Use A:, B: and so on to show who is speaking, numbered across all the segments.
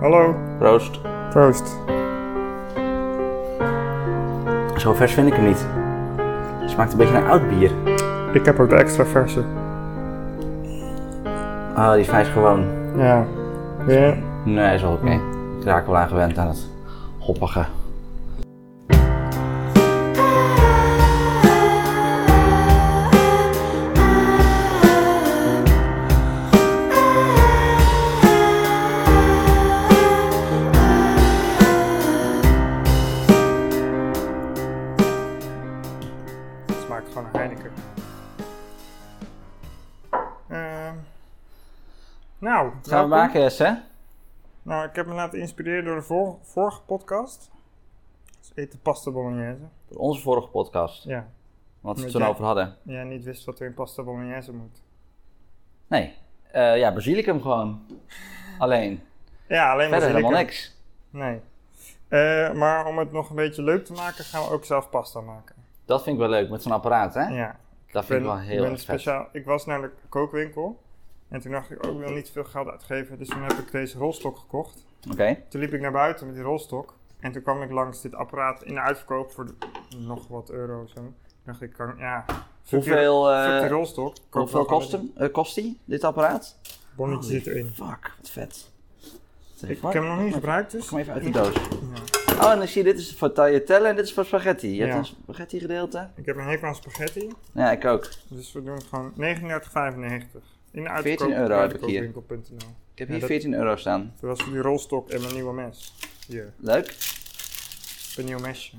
A: Hallo.
B: Proost.
A: Proost.
B: Zo vers vind ik hem niet. Het smaakt een beetje naar oud bier.
A: Ik heb ook de extra verse.
B: Ah, die is vrij gewoon.
A: Ja. Ja.
B: Nee, is wel oké. Ik raak wel aan gewend aan het hoppige.
A: Het smaakt gewoon naar Heineken. Ehm, nou,
B: Wat gaan we maken, Jesse?
A: Nou, ik heb me laten inspireren door de vor- vorige podcast. Dus eten pasta bolognese.
B: Onze vorige podcast.
A: Ja.
B: Wat we het
A: Met
B: toen
A: jij-
B: over hadden.
A: Jij niet wist wat er in pasta bolognese moet.
B: Nee. Eh, ja, basilicum gewoon. Alleen.
A: Ja, alleen maar
B: Verder helemaal
A: basilicum.
B: niks.
A: Nee. Eh, maar om het nog een beetje leuk te maken, gaan we ook zelf pasta maken.
B: Dat vind ik wel leuk met zo'n apparaat, hè?
A: Ja.
B: Dat vind ik wel heel
A: ben
B: erg vet.
A: speciaal. Ik was naar de kookwinkel. En toen dacht ik, oh, ik wil niet veel geld uitgeven. Dus toen heb ik deze rolstok gekocht.
B: Oké.
A: Toen liep ik naar buiten met die rolstok. En toen kwam ik langs dit apparaat in de uitverkoop voor de- nog wat euro zo. Toen dacht ik, kan, ja. fuck die-
B: Hoeveel, eh,
A: fuck die rolstok. Ik koop
B: Hoeveel
A: ook
B: kost,
A: een
B: hem, eh, kost die, dit apparaat?
A: Bonnetje
B: Oh,
A: zit erin.
B: Fuck, wat vet.
A: Ik, ik heb hem nog niet gebruikt, dus.
B: Kom even uit de doos. Oh, en dan zie je, dit is voor tagliatelle en dit is voor spaghetti. Je
A: Ja.
B: hebt een spaghetti gedeelte.
A: Ik heb een hekel aan spaghetti.
B: Ja, ik ook.
A: Dus we doen gewoon 39,95. In de uitverkoop.
B: 14 euro heb ik hier.
A: uitverkoopwinkel.nl.
B: Ik heb
A: Ja,
B: hier
A: dat-
B: 14 euro staan.
A: Dat was voor die rolstok en mijn nieuwe mes. Hier,
B: Leuk.
A: een nieuw mesje.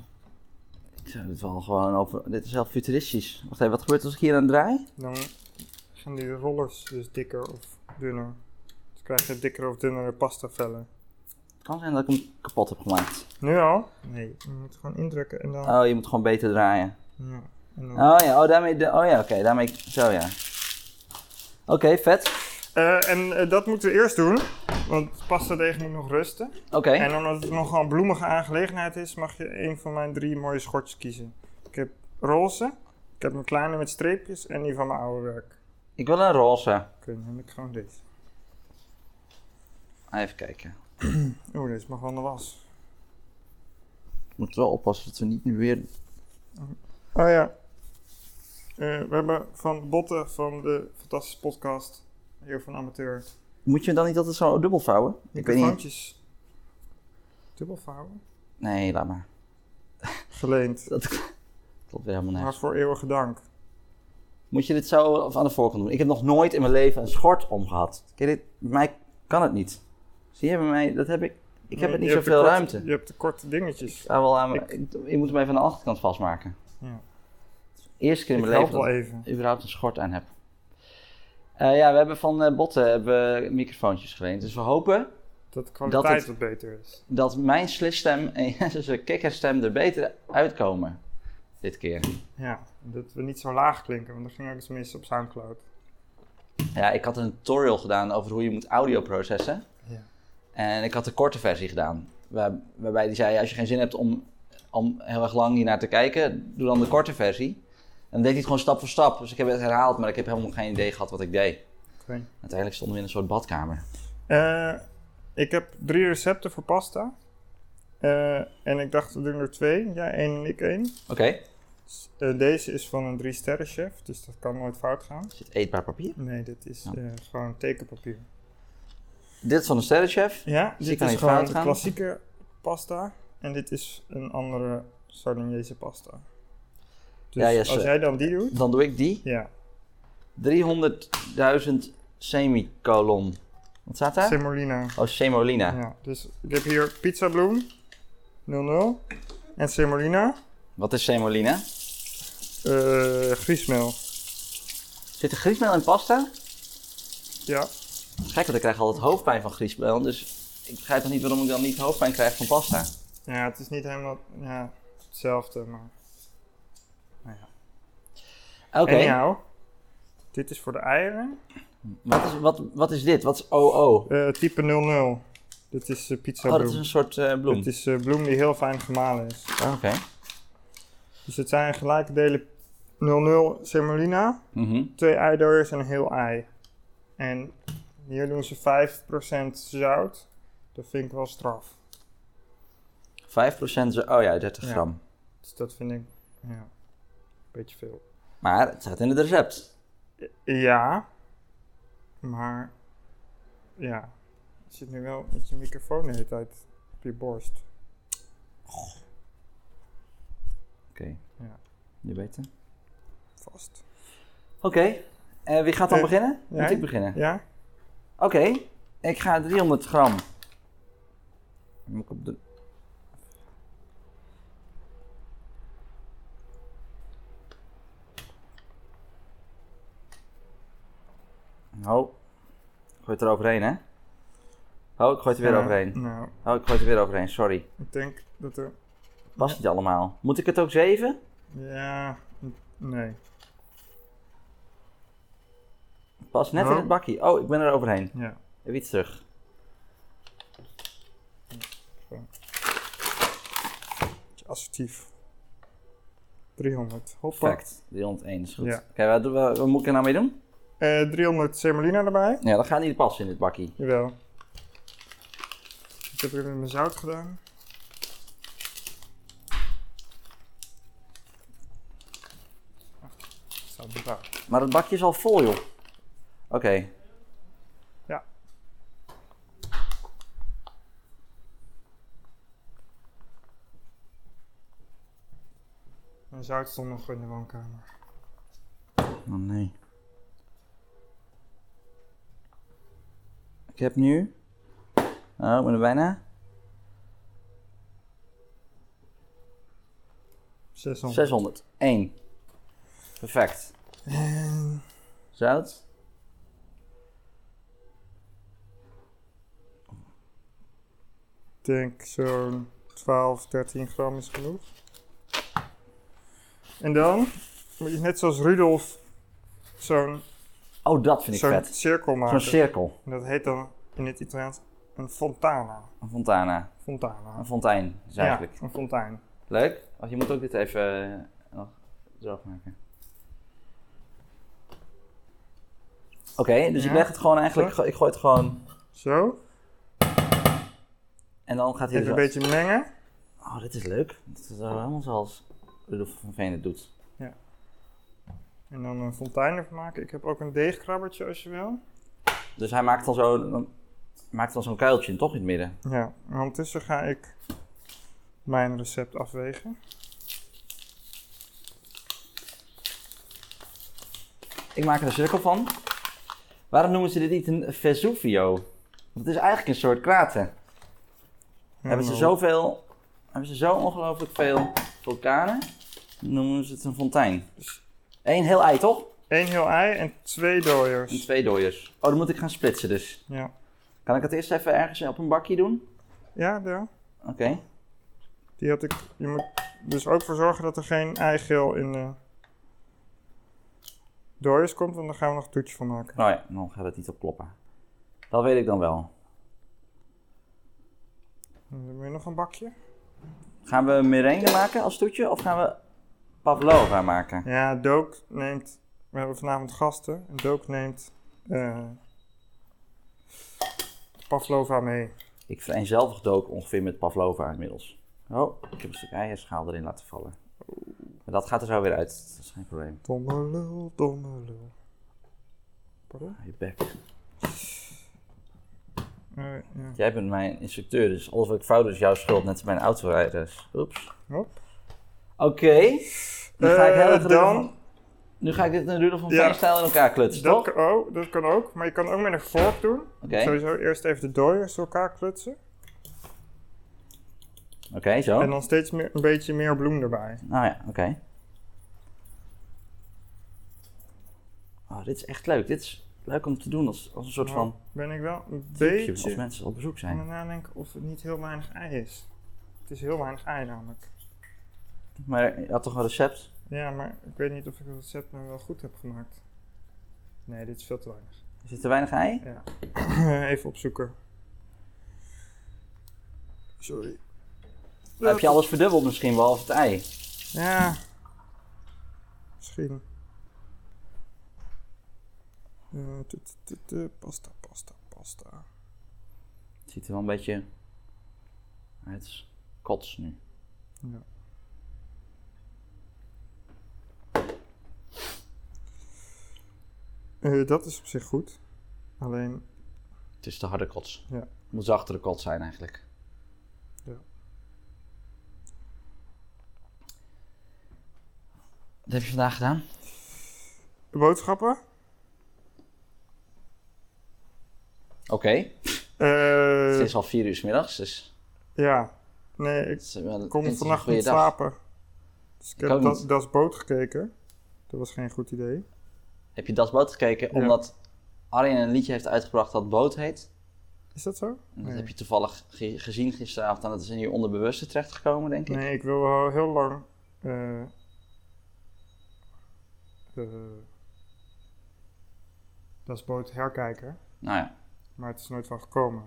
B: Ik zou dit wel gewoon over... Dit is heel futuristisch. Wacht even, wat gebeurt als ik hier aan draai?
A: Dan gaan die rollers dus dikker of dunner. Dus krijg je dikker of dunnere pastavellen.
B: Het kan zijn dat ik hem kapot heb gemaakt.
A: Nu al? Nee, je moet gewoon indrukken en dan...
B: Oh, je moet gewoon beter draaien.
A: Ja, en dan.
B: Oh ja, oh, daarmee... De... Oh ja, oké, daarmee... Zo ja. Oké, vet.
A: Eh, en eh, dat moeten we eerst doen, want pastadeeg moet nog rusten.
B: Oké.
A: En omdat het nogal een bloemige aangelegenheid is, mag je een van mijn drie mooie schortjes kiezen. Ik heb roze, ik heb mijn kleine met streepjes en die van mijn oude werk.
B: Ik wil een roze.
A: Oké, dan heb ik gewoon deze.
B: Ah, Even kijken.
A: Oeh, deze mag wel naar was.
B: Ik moet wel oppassen dat we niet nu weer...
A: Oh ja. Eh, we hebben van Botte van de fantastische podcast Heel van Amateur.
B: Moet je dan niet altijd zo dubbel vouwen? Ik weet niet.
A: Microfoontjes. Dubbelvouwen?
B: Nee, laat maar.
A: Geleend.
B: Dat klopt weer helemaal nergens.
A: Maar voor eeuwige dank.
B: Moet je dit zo of aan de voorkant doen? Ik heb nog nooit in mijn leven een schort omgehad. Ken je dit? Bij mij kan het niet. Zie je bij mij? Dat heb ik. Ik
A: Nee,
B: heb het
A: je
B: niet
A: hebt de
B: zoveel
A: korte-
B: ruimte.
A: Je hebt de korte dingetjes.
B: Ik ga wel aan mijn- ik- je moet hem even aan de achterkant vastmaken.
A: Ja.
B: Eerste keer
A: Ik
B: in mijn
A: help
B: leven
A: wel
B: dat
A: even.
B: ik überhaupt een schort aan heb. Eh, ja, we hebben van eh, Botten hebben we microfoontjes geleend. Dus we hopen
A: Dat de kwaliteit
B: het-
A: wat beter is.
B: dat mijn slisstem en Jens' kikkerstem er beter uitkomen. Dit keer.
A: Ja, dat we niet zo laag klinken, want dat ging ook eens mis op Soundcloud.
B: Ja, ik had een tutorial gedaan over hoe je moet audio processen.
A: Ja.
B: En ik had de korte versie gedaan. Waar- waarbij die zei, als je geen zin hebt om, om heel erg lang hiernaar te kijken, doe dan de korte versie. En dan deed hij het gewoon stap voor stap. Dus ik heb het herhaald, maar ik heb helemaal geen idee gehad wat ik deed.
A: Oké.
B: Uiteindelijk stonden we in een soort badkamer.
A: Eh, ik heb drie recepten voor pasta. Eh, en ik dacht, we doen er twee. Jij één en ik één.
B: Oké,
A: Eh, deze is van een drie sterren chef, dus dat kan nooit fout gaan.
B: is dit eetbaar papier?
A: Nee, dit is
B: Ja.
A: eh, gewoon tekenpapier.
B: Dit is van de sterrenchef.
A: Ja,
B: Dus die
A: dit
B: kan
A: is
B: niet
A: gewoon
B: fout
A: de
B: gaan?
A: klassieke pasta. En dit is een andere Sardignese pasta. Dus
B: Ja, yes,
A: als
B: eh.
A: jij dan die doet,
B: Dan doe ik die.
A: ja,
B: 300.000 semicolon. Wat staat daar?
A: semolina.
B: Oh, semolina.
A: Ja, dus ik heb hier pizza bloem, 00. En semolina,
B: Wat is semolina?
A: eh griesmeel.
B: Zit er griesmeel in pasta?
A: Ja,
B: Gek, want ik krijg altijd hoofdpijn van griesmeel. Dus ik begrijp dan niet waarom ik dan niet hoofdpijn krijg van pasta.
A: ja het is niet helemaal ja, hetzelfde, maar...
B: Oké,
A: Anyhow, dit is voor de eieren.
B: wat, is, wat, wat is dit? Wat is OO?
A: Eh, type 00. Dit is eh, pizza
B: Oh, dat
A: bloem.
B: is een soort eh, bloem.
A: Dit is eh, bloem die heel fijn gemalen is.
B: Oh, Oké.
A: Dus het zijn gelijke delen 00 semolina,
B: Mhm.
A: twee eidooiers en een heel ei. En hier doen ze 5% zout. Dat vind ik wel straf.
B: 5% zo, oh ja, 30
A: Ja.
B: gram.
A: Dus dat vind ik ja, een beetje veel.
B: Maar het staat in het recept.
A: Ja, maar ja, je zit nu wel met je microfoon de hele tijd op je borst.
B: Oké.
A: Ja.
B: Nu beter.
A: Vast.
B: Oké. Eh, wie gaat dan
A: Eh,
B: beginnen? Moet
A: jij?
B: ik beginnen?
A: Ja?
B: Oké. Ik ga 300 gram. Moet ik op de... Oh. Ik gooi het er overheen, hè? Oh, ik gooi het er weer
A: Ja,
B: overheen.
A: Nou,
B: Oh, ik gooi het er weer overheen, sorry.
A: ik denk dat er.
B: Past niet allemaal. Moet ik het ook zeven?
A: Ja, n- nee.
B: Past net in
A: Oh.
B: het bakje. Oh, ik ben er overheen.
A: Ja.
B: Even iets terug.
A: beetje Assertief. 300. Hoppa.
B: Perfect. 301 is goed.
A: Ja.
B: Oké, wat, doen we- wat moet ik er nou mee doen?
A: Eh, 300 semolina erbij.
B: Ja, dat gaat niet passen in dit bakje.
A: Jawel. Ik heb weer met mijn zout gedaan. Ah, Zout bewaard.
B: Maar het bakje is al vol, joh. Oké.
A: Ja. Mijn zout stond nog in de woonkamer.
B: Oh nee. Ik heb nu. Oh, ik ben er bijna.
A: 600.
B: 601. Perfect.
A: En
B: Zout.
A: ik denk zo'n 12, 13 gram is genoeg. En dan moet je net zoals Rudolf zo'n
B: Oh, dat vind ik
A: zo'n
B: vet.
A: cirkel
B: Zo'n
A: maken.
B: cirkel.
A: En dat heet dan in het Italiaans een fontana.
B: Een fontana.
A: Fontana.
B: Een fontein, is eigenlijk.
A: Ja, een fontein.
B: Leuk. Oh, je moet ook dit even eh, nog zelf maken. Oké, dus ik
A: Ja.
B: leg het gewoon eigenlijk, ik gooi het gewoon
A: Zo,
B: en dan gaat hij
A: even
B: dus
A: een beetje mengen.
B: Oh, dit is leuk. Dit is wel helemaal zoals Rudolf van Veen het doet.
A: En dan een fontein ervan maken. Ik heb ook een deegkrabbertje als je wil.
B: Dus hij maakt dan zo, dan maakt dan zo'n kuiltje, toch in het midden.
A: Ja, en ondertussen ga ik mijn recept afwegen.
B: Ik maak er een cirkel van. Waarom noemen ze dit niet een Vesuvio? Want het is eigenlijk een soort krater. Hebben ze
A: En-
B: zoveel, hebben ze zo ongelooflijk veel vulkanen, noemen ze het een fontein. Eén heel ei, toch?
A: Eén heel ei en twee
B: En
A: dooiers.
B: twee dooiers. Oh, dan moet ik gaan splitsen dus.
A: Ja,
B: Kan ik het eerst even ergens op een bakje doen?
A: ja, ja.
B: Oké.
A: Die had ik. Je moet dus ook voor zorgen dat er geen eigeel in de dooiers komt, want daar gaan we nog een toetje van maken.
B: Nou ja, dan gaat het niet op kloppen. Dat weet ik dan wel.
A: En dan moet je nog een bakje.
B: Gaan we merengue maken als toetje of gaan we pavlova maken?
A: Ja, Dook neemt. We hebben vanavond gasten. En Dook neemt. eh, Pavlova mee.
B: Ik vereenzelvig dook ongeveer met pavlova inmiddels. Oh, ik heb een stuk eierschaal erin laten vallen. Maar dat gaat er zo weer uit. Dat is geen probleem.
A: Domme lul, domme lul. Pardon?
B: Ah, Je bek.
A: Eh, ja.
B: Jij bent mijn instructeur, dus alles wat ik fout doe is jouw schuld, net als mijn autorijders. Oeps.
A: Hop.
B: Oké. Nu ga ik
A: Eh,
B: heel erg
A: dan-
B: Rudolf van- Nu ga ik dit in Rudolf van
A: Ja.
B: Veenstijl in elkaar klutsen,
A: Dat,
B: toch?
A: kan ook, dat kan ook, maar je kan ook met een vork doen.
B: Oké.
A: Sowieso eerst even de dooiers door elkaar klutsen.
B: Oké, zo.
A: En dan steeds meer, een beetje meer bloem erbij.
B: Nou ja, oké. Oh, dit is echt leuk. Dit is leuk om te doen als, als een soort
A: Nou,
B: van
A: Ben ik wel een
B: tipje
A: beetje
B: als mensen dus op bezoek
A: aan het
B: zijn.
A: nadenken of het niet heel weinig ei is. Het is heel weinig ei namelijk.
B: Maar je had toch een recept?
A: Ja, maar ik weet niet of ik het recept nou wel goed heb gemaakt. Nee, dit is veel te weinig.
B: Er zit te weinig ei?
A: Ja. Even opzoeken. Sorry.
B: Heb je alles verdubbeld misschien, behalve het ei?
A: Ja. Misschien. Eh, tu- tu- tu- tu, Pasta, pasta, pasta.
B: Het Ziet er wel een beetje uit. Kots nu.
A: Ja. Eh, dat is op zich goed. Alleen,
B: Het is de harde kots.
A: Ja.
B: Moet zachtere kots zijn eigenlijk.
A: Ja.
B: Wat heb je vandaag gedaan?
A: boodschappen.
B: Oké.
A: Eh,
B: Het is al vier uur 's middags, dus...
A: ja, nee, ik
B: Het is wel- het is
A: kon
B: een
A: vannacht
B: goede
A: niet
B: dag.
A: slapen. Dus ik
B: Ik
A: heb
B: ook
A: dat,
B: niet.
A: das boot gekeken. Dat was geen goed idee.
B: Heb je Das Boot gekeken?
A: Ja.
B: Omdat Arjen een liedje heeft uitgebracht dat Boot heet.
A: Is dat zo?
B: En dat
A: Nee.
B: heb je toevallig ge- gezien gisteravond en dat is in je onderbewuste terechtgekomen, denk ik.
A: Nee, ik wil al heel lang. eh, eh, dat is boot herkijken,
B: Nou ja.
A: maar het is nooit van gekomen.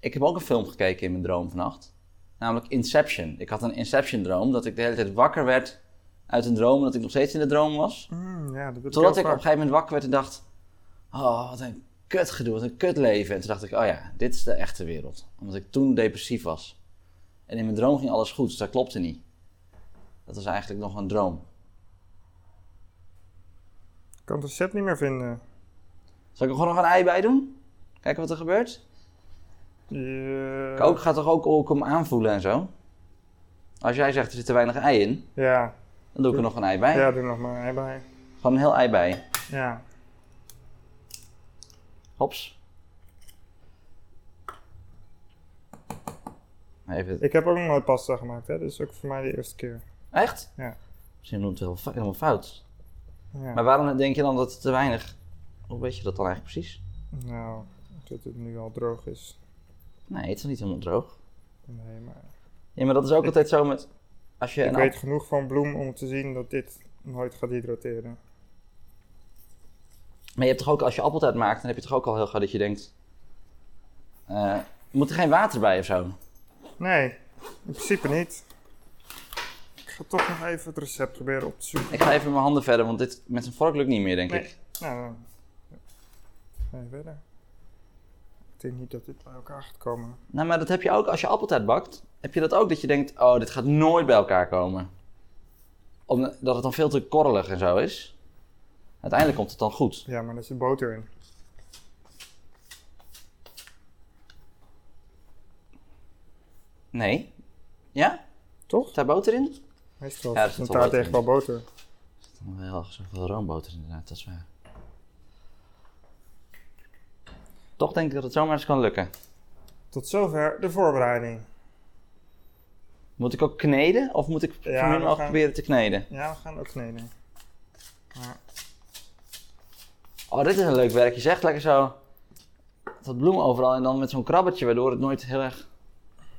B: Ik heb ook een film gekeken in mijn droom vannacht. Namelijk Inception. Ik had een Inception-droom dat ik de hele tijd wakker werd uit een droom en dat ik nog steeds in de droom was.
A: Mm, ja, dat heb
B: Totdat
A: heel
B: ik op een
A: vaak.
B: gegeven moment wakker werd en dacht: Oh, wat een kut gedoe, wat een kut leven. En toen dacht ik: Oh ja, dit is de echte wereld. Omdat ik toen depressief was. En in mijn droom ging alles goed, dus dat klopte niet. Dat was eigenlijk nog een droom.
A: Ik kan de set niet meer vinden.
B: Zal ik er gewoon nog een ei bij doen? Kijken wat er gebeurt?
A: Je-
B: Ik ook, gaat toch ook ook om aanvoelen en zo? Als jij zegt er zit te weinig ei in,
A: Ja,
B: dan doe ik er nog een ei bij.
A: ja, doe nog maar een ei bij.
B: Gewoon een heel ei bij.
A: Ja,
B: Hops. Even.
A: ik heb ook nog nooit pasta gemaakt, hè? dus ook voor mij de eerste keer.
B: Echt?
A: Ja.
B: Misschien noemt het heel fa- helemaal fout.
A: Ja.
B: Maar waarom denk je dan dat het te weinig... Hoe weet je dat dan eigenlijk precies?
A: Nou, dat het nu al droog is.
B: Nee, het is niet helemaal droog.
A: Nee, maar
B: Ja, maar dat is ook altijd zo met... Als je
A: ik
B: een
A: weet
B: app-
A: genoeg van bloem om te zien dat dit nooit gaat hydrateren.
B: Maar je hebt toch ook, als je appeltaart maakt, dan heb je toch ook al heel gauw dat je denkt... eh, moet er geen water bij of zo?
A: Nee, in principe niet. Ik ga toch nog even het recept proberen op te zoeken.
B: Ik ga even mijn handen verder, want dit met een vork lukt niet meer, denk
A: Nee.
B: ik.
A: Nou, dan ga je verder. Ik denk niet dat dit bij elkaar gaat komen.
B: Nou, maar dat heb je ook als je appeltaart bakt. Heb je dat ook, dat je denkt, oh, dit gaat nooit bij elkaar komen. Omdat het dan veel te korrelig en zo is. Uiteindelijk komt het dan goed.
A: Ja, maar er zit boter in.
B: Nee. Ja?
A: Toch?
B: Zit daar boter in?
A: Meestal
B: Ja, er
A: ja,
B: zit
A: een
B: wel
A: taart
B: boter
A: tegen wel boter.
B: Dan wel zoveel roomboter inderdaad, dat is waar. Toch denk ik dat het zomaar eens kan lukken.
A: Tot zover de voorbereiding.
B: Moet ik ook kneden of moet ik zo min
A: we
B: mogelijk
A: gaan-
B: proberen te kneden?
A: Ja, we gaan ook kneden. Maar
B: Oh, dit is een leuk werkje. Zeg lekker zo dat bloem overal en dan met zo'n krabbetje waardoor het nooit heel erg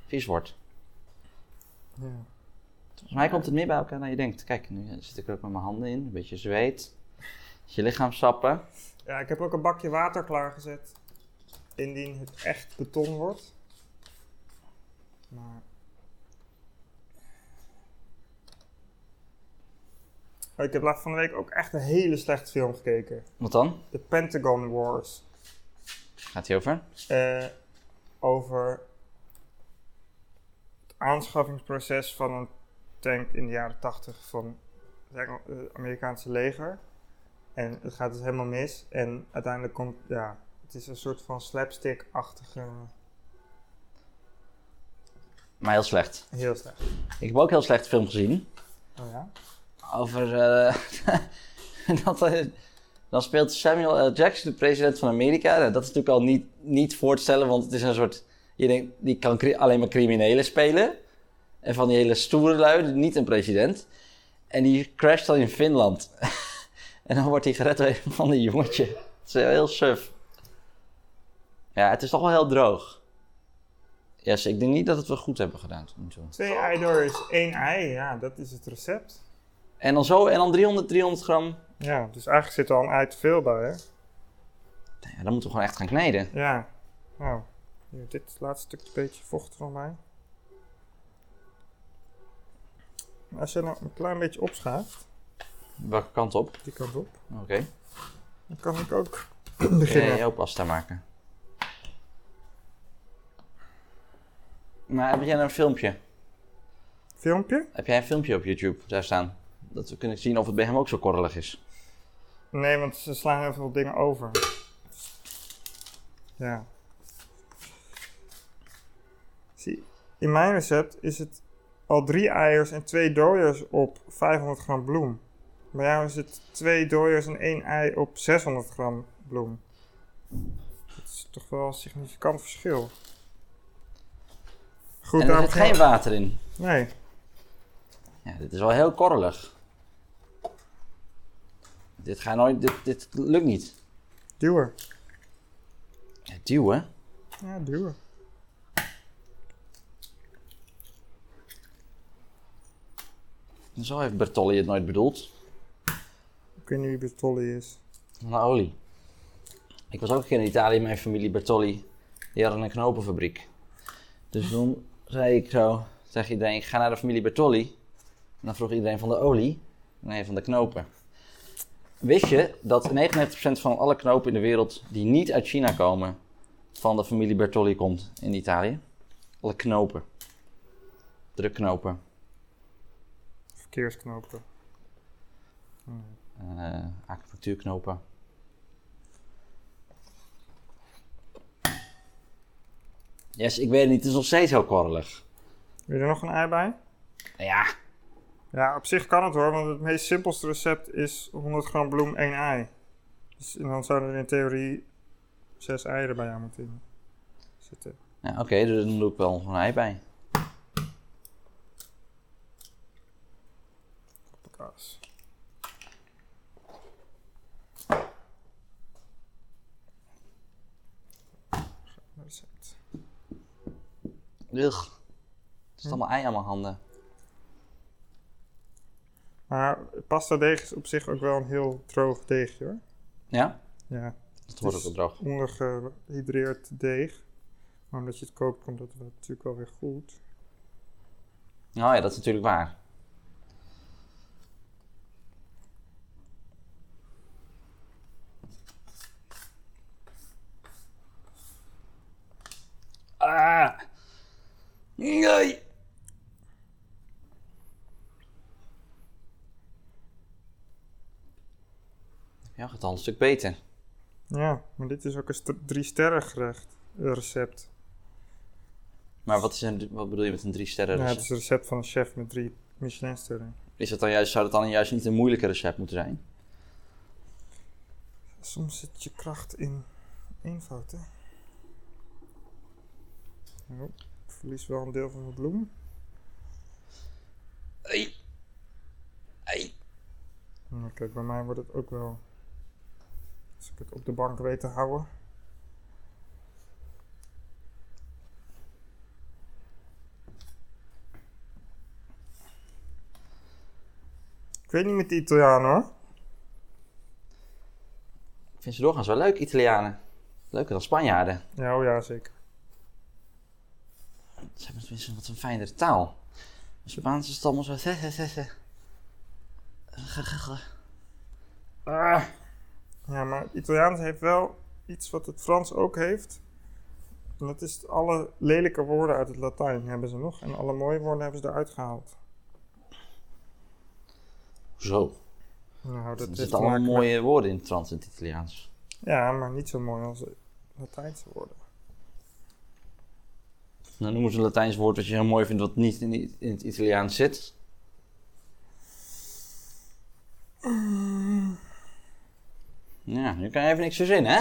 B: vies wordt.
A: ja,
B: Volgens mij komt het meer bij elkaar dan je denkt. Kijk, nu eh, zit ik er ook met mijn handen in, een beetje zweet, je lichaam sappen.
A: ja ik heb ook een bakje water klaargezet. Indien het echt beton wordt. Maar... Oh, Ik heb laatst van de week ook echt een hele slechte film gekeken.
B: Wat dan?
A: The Pentagon Wars.
B: Gaat hij over?
A: eh, over het aanschaffingsproces van een tank in de jaren 80 van het Engel- eh, Amerikaanse leger. En het gaat dus helemaal mis. En uiteindelijk komt, ja, het is een soort van slapstick-achtige,
B: Maar heel slecht.
A: heel slecht.
B: Ik heb ook heel slecht film gezien.
A: Oh ja?
B: Over. eh, dat, eh, dan speelt Samuel L. Jackson de president van Amerika. Nou, dat is natuurlijk al niet, niet voor te stellen, want het is een soort. Je denkt, die kan cri- alleen maar criminelen spelen. En van die hele stoere lui, niet een president. En die crasht dan in Finland. en dan wordt hij gered door een van die jongetje. Het is heel suf. Ja, het is toch wel heel droog. Yes, ik denk niet dat het we goed hebben gedaan tot nu toe.
A: Twee ei door is één ei, ja, dat is het recept.
B: En dan zo, en dan 300, 300 gram
A: Ja, dus eigenlijk zit er al een ei te veel bij, hè?
B: Ja, dan moeten we gewoon echt gaan kneden.
A: Ja, nou, hier, dit laatste stuk is een beetje vochtig van mij. Maar Als je nou een klein beetje opschuift,
B: Welke kant op?
A: die kant op,
B: Oké.
A: dan kan ik ook beginnen.
B: jouw pasta maken. Maar heb jij nou een filmpje?
A: Filmpje?
B: Heb jij een filmpje op YouTube daar staan? Dat we kunnen zien of het bij hem ook zo korrelig is.
A: Nee, want ze slaan heel veel dingen over. Ja. Zie, in mijn recept is het al drie eiers en twee dooiers op 500 gram bloem. Bij jou is het twee dooiers en één ei op 600 gram bloem. Dat is toch wel een significant verschil. Goed,
B: en er zit
A: beginnen
B: geen
A: we-
B: water in.
A: Nee.
B: Ja, dit is wel heel korrelig. Dit gaat nooit, dit, dit lukt niet.
A: Duwen.
B: Ja, duwen?
A: Ja, duwen.
B: Zo heeft Bertolli het nooit bedoeld.
A: Ik weet niet wie Bertolli is.
B: Van de olie. Ik was ook een keer in Italië met mijn familie Bertolli. Die hadden een knopenfabriek. Dus toen zei ik zo, zeg iedereen, ik ga naar de familie Bertolli. En dan vroeg iedereen van de olie en hij van de knopen. Wist je dat 99% van alle knopen in de wereld die niet uit China komen, van de familie Bertolli komt in Italië? Alle knopen. Drukknopen.
A: Verkeersknopen. Hmm.
B: eh acupunctuurknopen. Yes, ik weet het niet. Het is nog steeds heel korrelig.
A: Wil je er nog een ei bij?
B: Ja,
A: Ja, op zich kan het hoor, want het meest simpelste recept is 100 gram bloem, 1 ei. Dus en dan zouden er in theorie 6 eieren bij jou moeten in zitten.
B: ja oké, dus dan doe ik wel een ei bij.
A: Hoppakaas. Recept.
B: Ugh. Het is allemaal ei aan mijn handen.
A: Maar pasta deeg is op zich ook wel een heel droog deegje hoor.
B: Ja? Dus
A: Ja,
B: Dat wordt ook wel droog.
A: ondergehydreerd deeg. Maar omdat je het koopt, komt dat wel- natuurlijk wel weer goed.
B: Nou ja, dat is natuurlijk waar. Ah! Nee! Ja, gaat al een stuk beter.
A: Ja, maar dit is ook een st- drie sterren gerecht, eh, recept.
B: Maar wat, is een, wat bedoel je met een drie sterren
A: Ja,
B: recept?
A: het is een recept van een chef met drie Michelinsterren.
B: is dat dan juist, zou dat dan juist niet een moeilijke recept moeten zijn?
A: Soms zit je kracht in eenvoud, hè? Oh, ik verlies wel een deel van mijn bloem.
B: Ei. Ei.
A: Nou, kijk, bij mij wordt het ook wel... Als ik het op de bank weet te houden. Ik weet niet met die Italianen, hoor.
B: Ik vind ze doorgaans wel leuk, Italianen. Leuker dan Spanjaarden.
A: Ja, oh ja, zeker.
B: Ze hebben tenminste wat een fijnere taal. De Spaanse is het allemaal zo... Ze, ze, ze, ze. Ge, ge, ge.
A: Ah. Ja, maar het Italiaans heeft wel iets wat het Frans ook heeft. En dat is alle lelijke woorden uit het Latijn hebben ze nog. En alle mooie woorden hebben ze eruit gehaald.
B: Zo.
A: Nou, dat
B: Er
A: heeft
B: zitten
A: te
B: allemaal
A: maken met-
B: mooie woorden in het Frans en het Italiaans.
A: Ja, maar niet zo mooi als Latijnse woorden.
B: Nou, noemen ze een Latijns woord wat je heel mooi vindt wat niet in, in het Italiaans zit. Ja, nu kan je even niks verzinnen, hè?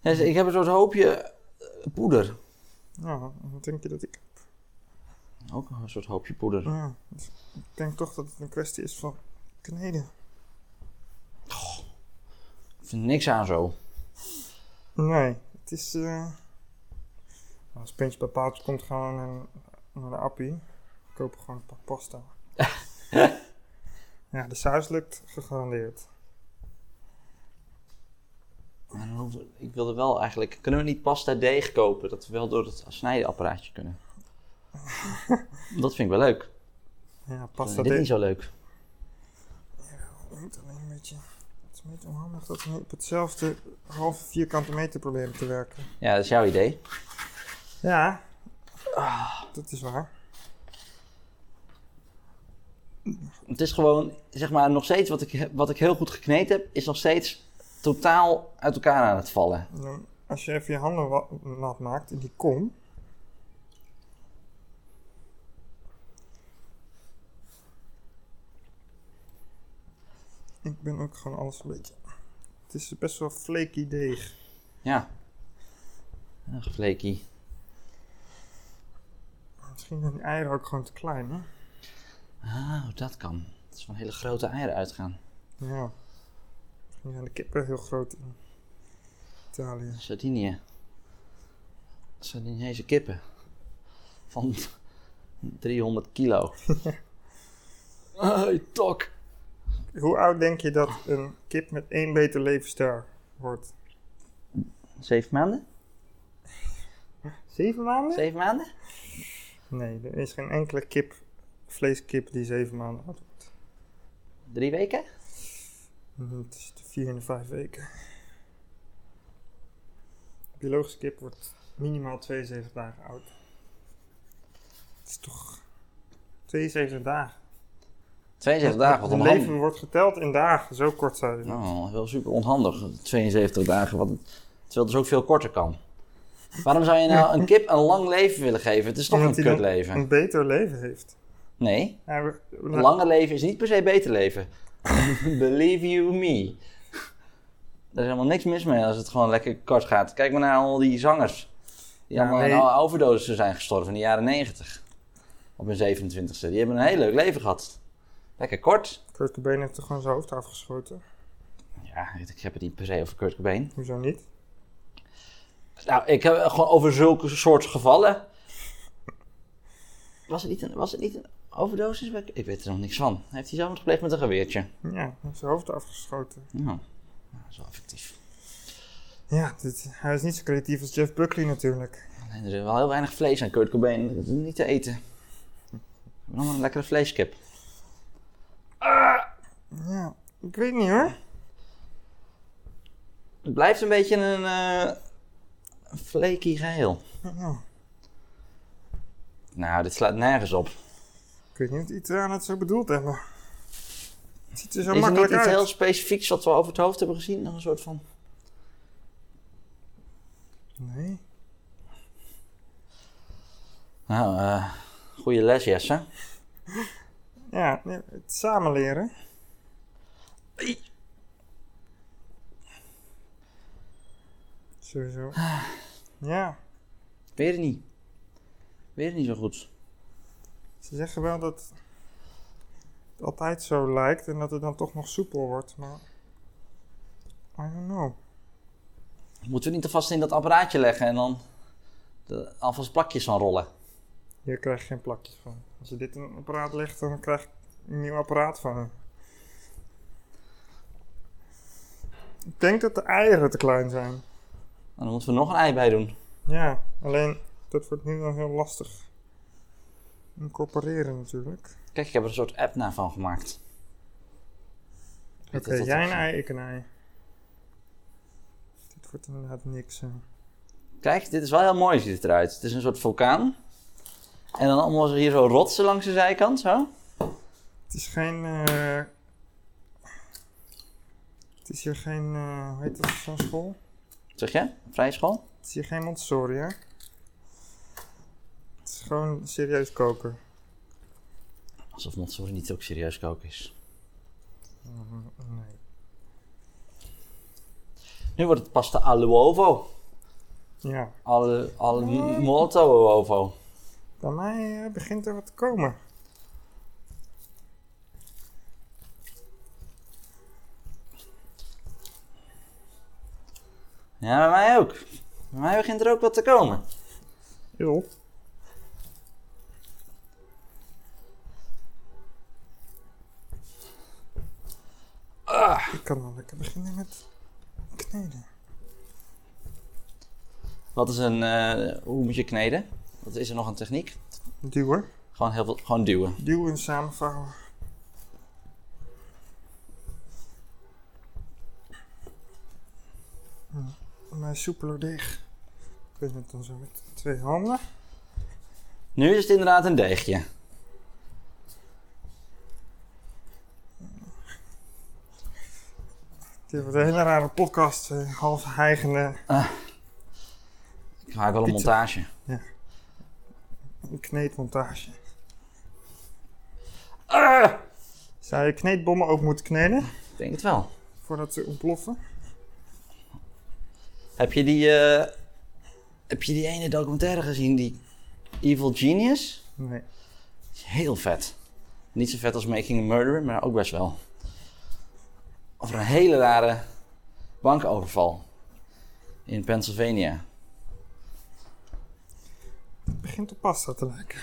B: Ja, dus Ik heb een soort hoopje eh, poeder.
A: Nou, wat denk je dat ik...
B: Ook een soort hoopje poeder.
A: Ja, dus ik denk toch dat het een kwestie is van kneden.
B: Ik vind niks aan zo.
A: Nee, het is... eh, Als puntje bij paaltje komt, gaan we naar- naar de appie. We kopen gewoon een pak pasta. ja, de saus lukt gegarandeerd.
B: Maar dan hoef- ik wilde wel eigenlijk... Kunnen we niet pasta deeg kopen? Dat we wel door het snijdenapparaatje kunnen. dat vind ik wel leuk.
A: Ja,
B: Pasta
A: pasta
B: dit
A: deeg.
B: niet zo leuk.
A: Niet alleen een beetje... Het is een beetje onhandig dat we nu op hetzelfde halve vierkante meter proberen te werken.
B: Ja, dat is jouw idee.
A: Ja, dat is waar.
B: Het is gewoon, zeg maar, nog steeds wat ik, wat ik heel goed gekneed heb, is nog steeds totaal uit elkaar aan het vallen.
A: En dan, als je even je handen wa- nat maakt in die kom. Ik ben ook gewoon alles een beetje. Het is best wel flaky deeg.
B: Ja. Ah, Ach, flaky.
A: Misschien zijn die eieren ook gewoon te klein, hè?
B: Ah, dat kan. Het is van hele grote eieren uitgaan.
A: Ja. Misschien zijn de kippen heel groot in Italië.
B: Sardinië. Sardinese kippen. Van 300 kilo. Hey, tok.
A: Hoe oud denk je dat een kip met één beter levensstijl wordt?
B: Zeven maanden?
A: Zeven maanden?
B: Zeven maanden?
A: Nee, er is geen enkele kip, vleeskip die zeven maanden oud wordt.
B: Drie weken?
A: Mhm, Het is de vier en de vijf weken. Biologische kip wordt minimaal 72 dagen oud. Het is toch 72 dagen.
B: 72 dagen, wat
A: Het
B: onhandig.
A: leven wordt geteld in dagen, zo kort zijn ze.
B: Oh, wel super onhandig. 72 dagen, wat, terwijl het dus ook veel korter kan. Waarom zou je nou een kip een lang leven willen geven? Het is toch
A: Omdat
B: een
A: hij
B: kut
A: dan
B: leven?
A: Een beter leven heeft.
B: Nee,
A: Ja, we- we-
B: een langer leven is niet per se beter leven. Believe you me. Er is helemaal niks mis mee als het gewoon lekker kort gaat. Kijk maar naar al die zangers. Die
A: Ja,
B: allemaal
A: nee.
B: aan alle overdosissen zijn gestorven in de jaren 90. Op hun 27e. Die hebben een heel leuk leven gehad. Lekker kort.
A: Kurt Cobain heeft er gewoon zijn hoofd afgeschoten.
B: Ja, ik heb het niet per se over Kurt Cobain.
A: Hoezo niet?
B: Nou, ik heb gewoon over zulke soort gevallen. Was het niet een, was het niet een overdosis? bij- Ik weet er nog niks van. Heeft hij zelf gepleegd met een geweertje?
A: Ja, hij heeft zijn hoofd afgeschoten.
B: Nou, nou, dat is wel effectief.
A: Ja, dit, hij is niet zo creatief als Jeff Buckley natuurlijk.
B: Alleen, er is wel heel weinig vlees aan Kurt Cobain. Dat is niet te eten. We hebben nog maar een lekkere vleeskip.
A: Ja, ik weet niet hoor.
B: Het blijft een beetje een, eh een flaky geheel.
A: Ja,
B: Nou, dit slaat nergens op.
A: ik weet niet of de Italianen het zo bedoeld hebben. Het ziet er zo
B: is er niet
A: makkelijk
B: iets
A: uit.
B: heel specifieks wat we over het hoofd hebben gezien? Nog een soort van...
A: Nee.
B: Nou, eh goede les, Jesse.
A: Ja, nee, het samen leren. Sowieso. Ja,
B: Weet het niet. Weet het niet zo goed.
A: ze zeggen wel dat het altijd zo lijkt en dat het dan toch nog soepel wordt, maar... I don't know.
B: Moeten we niet alvast in dat apparaatje leggen en dan de, alvast plakjes van rollen?
A: Hier krijg je geen plakjes van. Als je dit in een apparaat legt, dan krijg je een nieuw apparaat van. Ik denk dat de eieren te klein zijn.
B: En Nou, dan moeten we nog een ei bij doen.
A: Ja, alleen dat wordt nu dan heel lastig. Incorporeren natuurlijk.
B: Kijk, ik heb er een soort app naar van gemaakt.
A: Oké,
B: Dit is dat
A: jij
B: ook
A: een
B: zo.
A: ei, ik een ei. Dit wordt inderdaad niks. hè.
B: Kijk, dit is wel heel mooi, ziet het eruit. Het is een soort vulkaan. En dan allemaal zo hier zo rotsen langs de zijkant, zo.
A: Het is geen. eh, het is hier geen. eh, hoe heet dat zo'n school?
B: Wat Zeg je? Vrije school?
A: Het is hier geen Montessori, hè? Het is gewoon serieus koken.
B: Alsof Montessori niet ook serieus koken is.
A: Mm, Nee.
B: Nu wordt het pasta alle uovo.
A: Ja,
B: Alle, alle molto uovo.
A: bij mij eh, begint er wat te komen.
B: Ja, bij mij ook. Bij mij begint er ook wat te komen.
A: Heel. Ik kan wel lekker beginnen met kneden.
B: Wat is een... eh, hoe moet je kneden? Wat is er nog een techniek?
A: Duwen.
B: Gewoon heel veel... Gewoon duwen.
A: Duwen en samenvouwen. mij Hm, soepeler deeg. Ik weet het dan zo met twee handen.
B: Nu is het inderdaad een deegje.
A: Dit wordt een hele rare podcast, eh, half hijgende
B: Ik maak wel
A: Pizza.
B: een montage.
A: kneedmontage.
B: Ah!
A: Zou je kneedbommen ook moeten kneden
B: Ik denk het wel.
A: voordat ze ontploffen?
B: Heb je die, eh, heb je die ene documentaire gezien, die Evil Genius?
A: Nee.
B: Die is Heel vet. Niet zo vet als Making a Murderer, maar ook best wel. Over een hele rare bankoverval in Pennsylvania.
A: Het begint op pasta te lijken.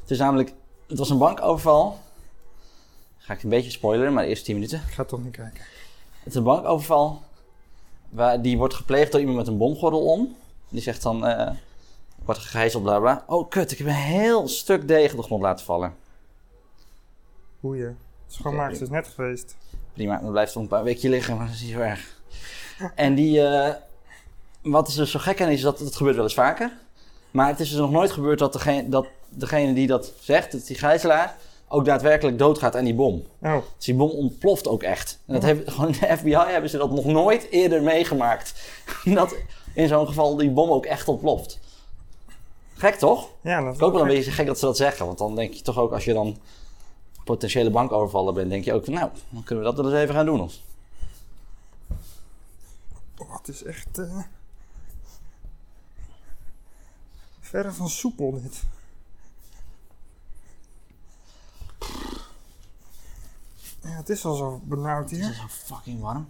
B: Het is namelijk, het was een bankoverval. Ga ik een beetje spoileren, maar de eerste 10 minuten.
A: Ik ga toch niet kijken.
B: Het is een bankoverval. Waar, die wordt gepleegd door iemand met een bomgordel om. Die zegt dan, eh wordt gegijzeld, bla bla. Oh kut, ik heb een heel stuk deeg op de grond laten vallen.
A: Boeien. Schoonmaak is net geweest.
B: Prima, dan blijft het nog een paar weekje liggen, maar dat is niet zo erg. En die, eh, wat is er zo gek aan is, dat het gebeurt wel eens vaker. Maar het is dus nog nooit gebeurd dat degene, dat degene die dat zegt, dat die gijzelaar, ook daadwerkelijk doodgaat aan die bom.
A: Oh,
B: Dus die bom ontploft ook echt. En dat heeft, gewoon in de FBI hebben ze dat nog nooit eerder meegemaakt. Dat in zo'n geval die bom ook echt ontploft. Gek toch?
A: ja, dat
B: Ik ook wel een beetje gek dat ze dat zeggen. Want dan denk je toch ook als je dan potentiële bankovervaller bent, denk je ook van nou, dan kunnen we dat wel eens even gaan doen. Of
A: Oh, het is echt. eh, Verre van soepel dit. Ja, het is al zo benauwd
B: Het
A: hier.
B: is zo fucking warm.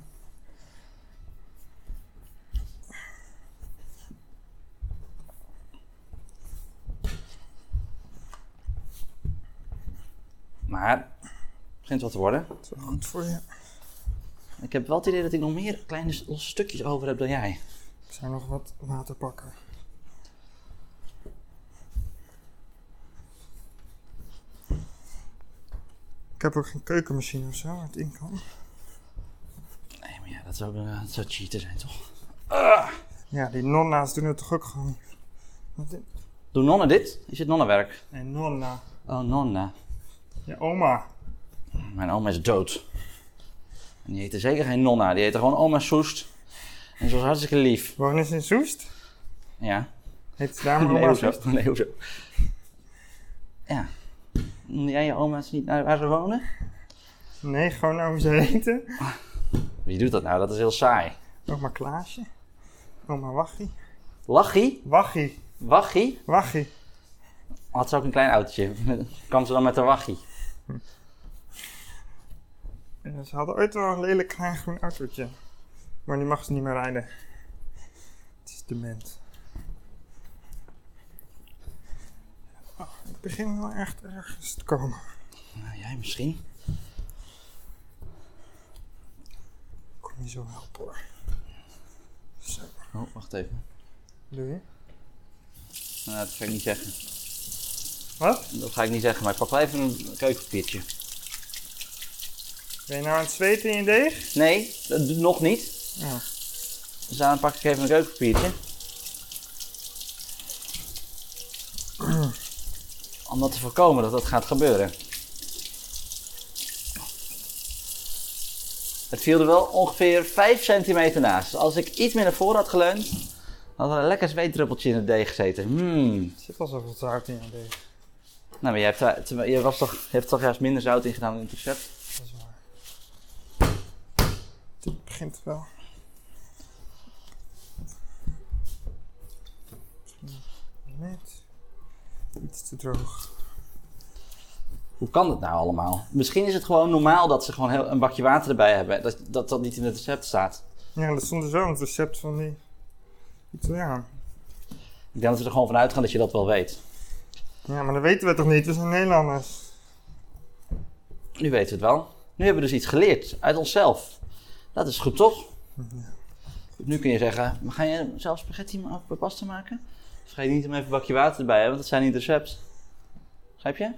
B: Maar het begint wat te worden.
A: Het is wel goed voor je.
B: Ik heb wel het idee dat ik nog meer kleine s- losse stukjes over heb dan jij.
A: Ik zou nog wat water pakken. Ik heb ook geen keukenmachine of zo waar het in kan.
B: Nee, maar ja, dat zou, eh, dat zou cheaten zijn, toch?
A: Ja, die nonna's doen het toch ook gewoon. Wat in-
B: Doe nonnen dit? Is dit nonnenwerk?
A: Nee, nonna.
B: Oh, nonna.
A: Je oma.
B: Mijn oma is dood. En die heette zeker geen nonna, die heette gewoon oma Soest. En ze was hartstikke lief.
A: Wonen ze in Soest?
B: Ja.
A: Heet ze daar maar
B: nee,
A: oma
B: hoezo?
A: Soest?
B: Nee, hoezo? Ja. Noemde jij je oma's niet naar waar ze wonen?
A: Nee, gewoon oom ze heten.
B: Wie doet dat nou? Dat is heel saai.
A: Oma Klaasje. Oma Wachie.
B: Lachie?
A: Wachie.
B: Wachie?
A: Wachie.
B: Had ze ook een klein autootje? Kwam ze dan met een wachie?
A: En ze hadden ooit wel een lelijk klein groen autootje. Maar nu mag ze niet meer rijden. Het is dement. Oh, ik begin wel echt ergens te komen.
B: Nou, jij misschien.
A: Kom je zo helpen hoor. Zo,
B: Oh, wacht even.
A: doe je?
B: Nou, dat ga ik niet zeggen.
A: Wat?
B: Dat ga ik niet zeggen, maar ik pak wel even een keukenpapiertje.
A: Ben je nou aan het zweten in je deeg?
B: Nee, dat doe- nog niet.
A: Ja.
B: Dus daarom pak ik even een keukenpapiertje. Om dat te voorkomen dat dat gaat gebeuren. Het viel er wel ongeveer 5 centimeter naast. Dus als ik iets meer naar voren had geleund, had er een lekker zweetdruppeltje in het deeg gezeten. Hmm.
A: Er zit al zoveel zout in je deeg.
B: Nou, maar je hebt, daar- terwijl- je, was toch, je hebt toch juist minder zout in gedaan in het recept?
A: Dat is waar. Dit begint wel. Net iets te droog.
B: Hoe kan dat nou allemaal? Misschien is het gewoon normaal dat ze gewoon heel, een bakje water erbij hebben. Dat, dat dat niet in het recept staat.
A: Ja, dat stond dus wel in het recept van die Italiaan.
B: Ik denk dat ze er gewoon vanuit gaan dat je dat wel weet.
A: Ja, maar dat weten we toch niet? We zijn Nederlanders.
B: Nu weten we het wel. Nu hebben we dus iets geleerd uit onszelf. Dat is goed, toch? Nu kun je zeggen, maar ga je zelf spaghetti ma- of pasta maken? Vergeet niet om even een bakje water erbij, hè, want dat zijn niet recept. Begrijp je?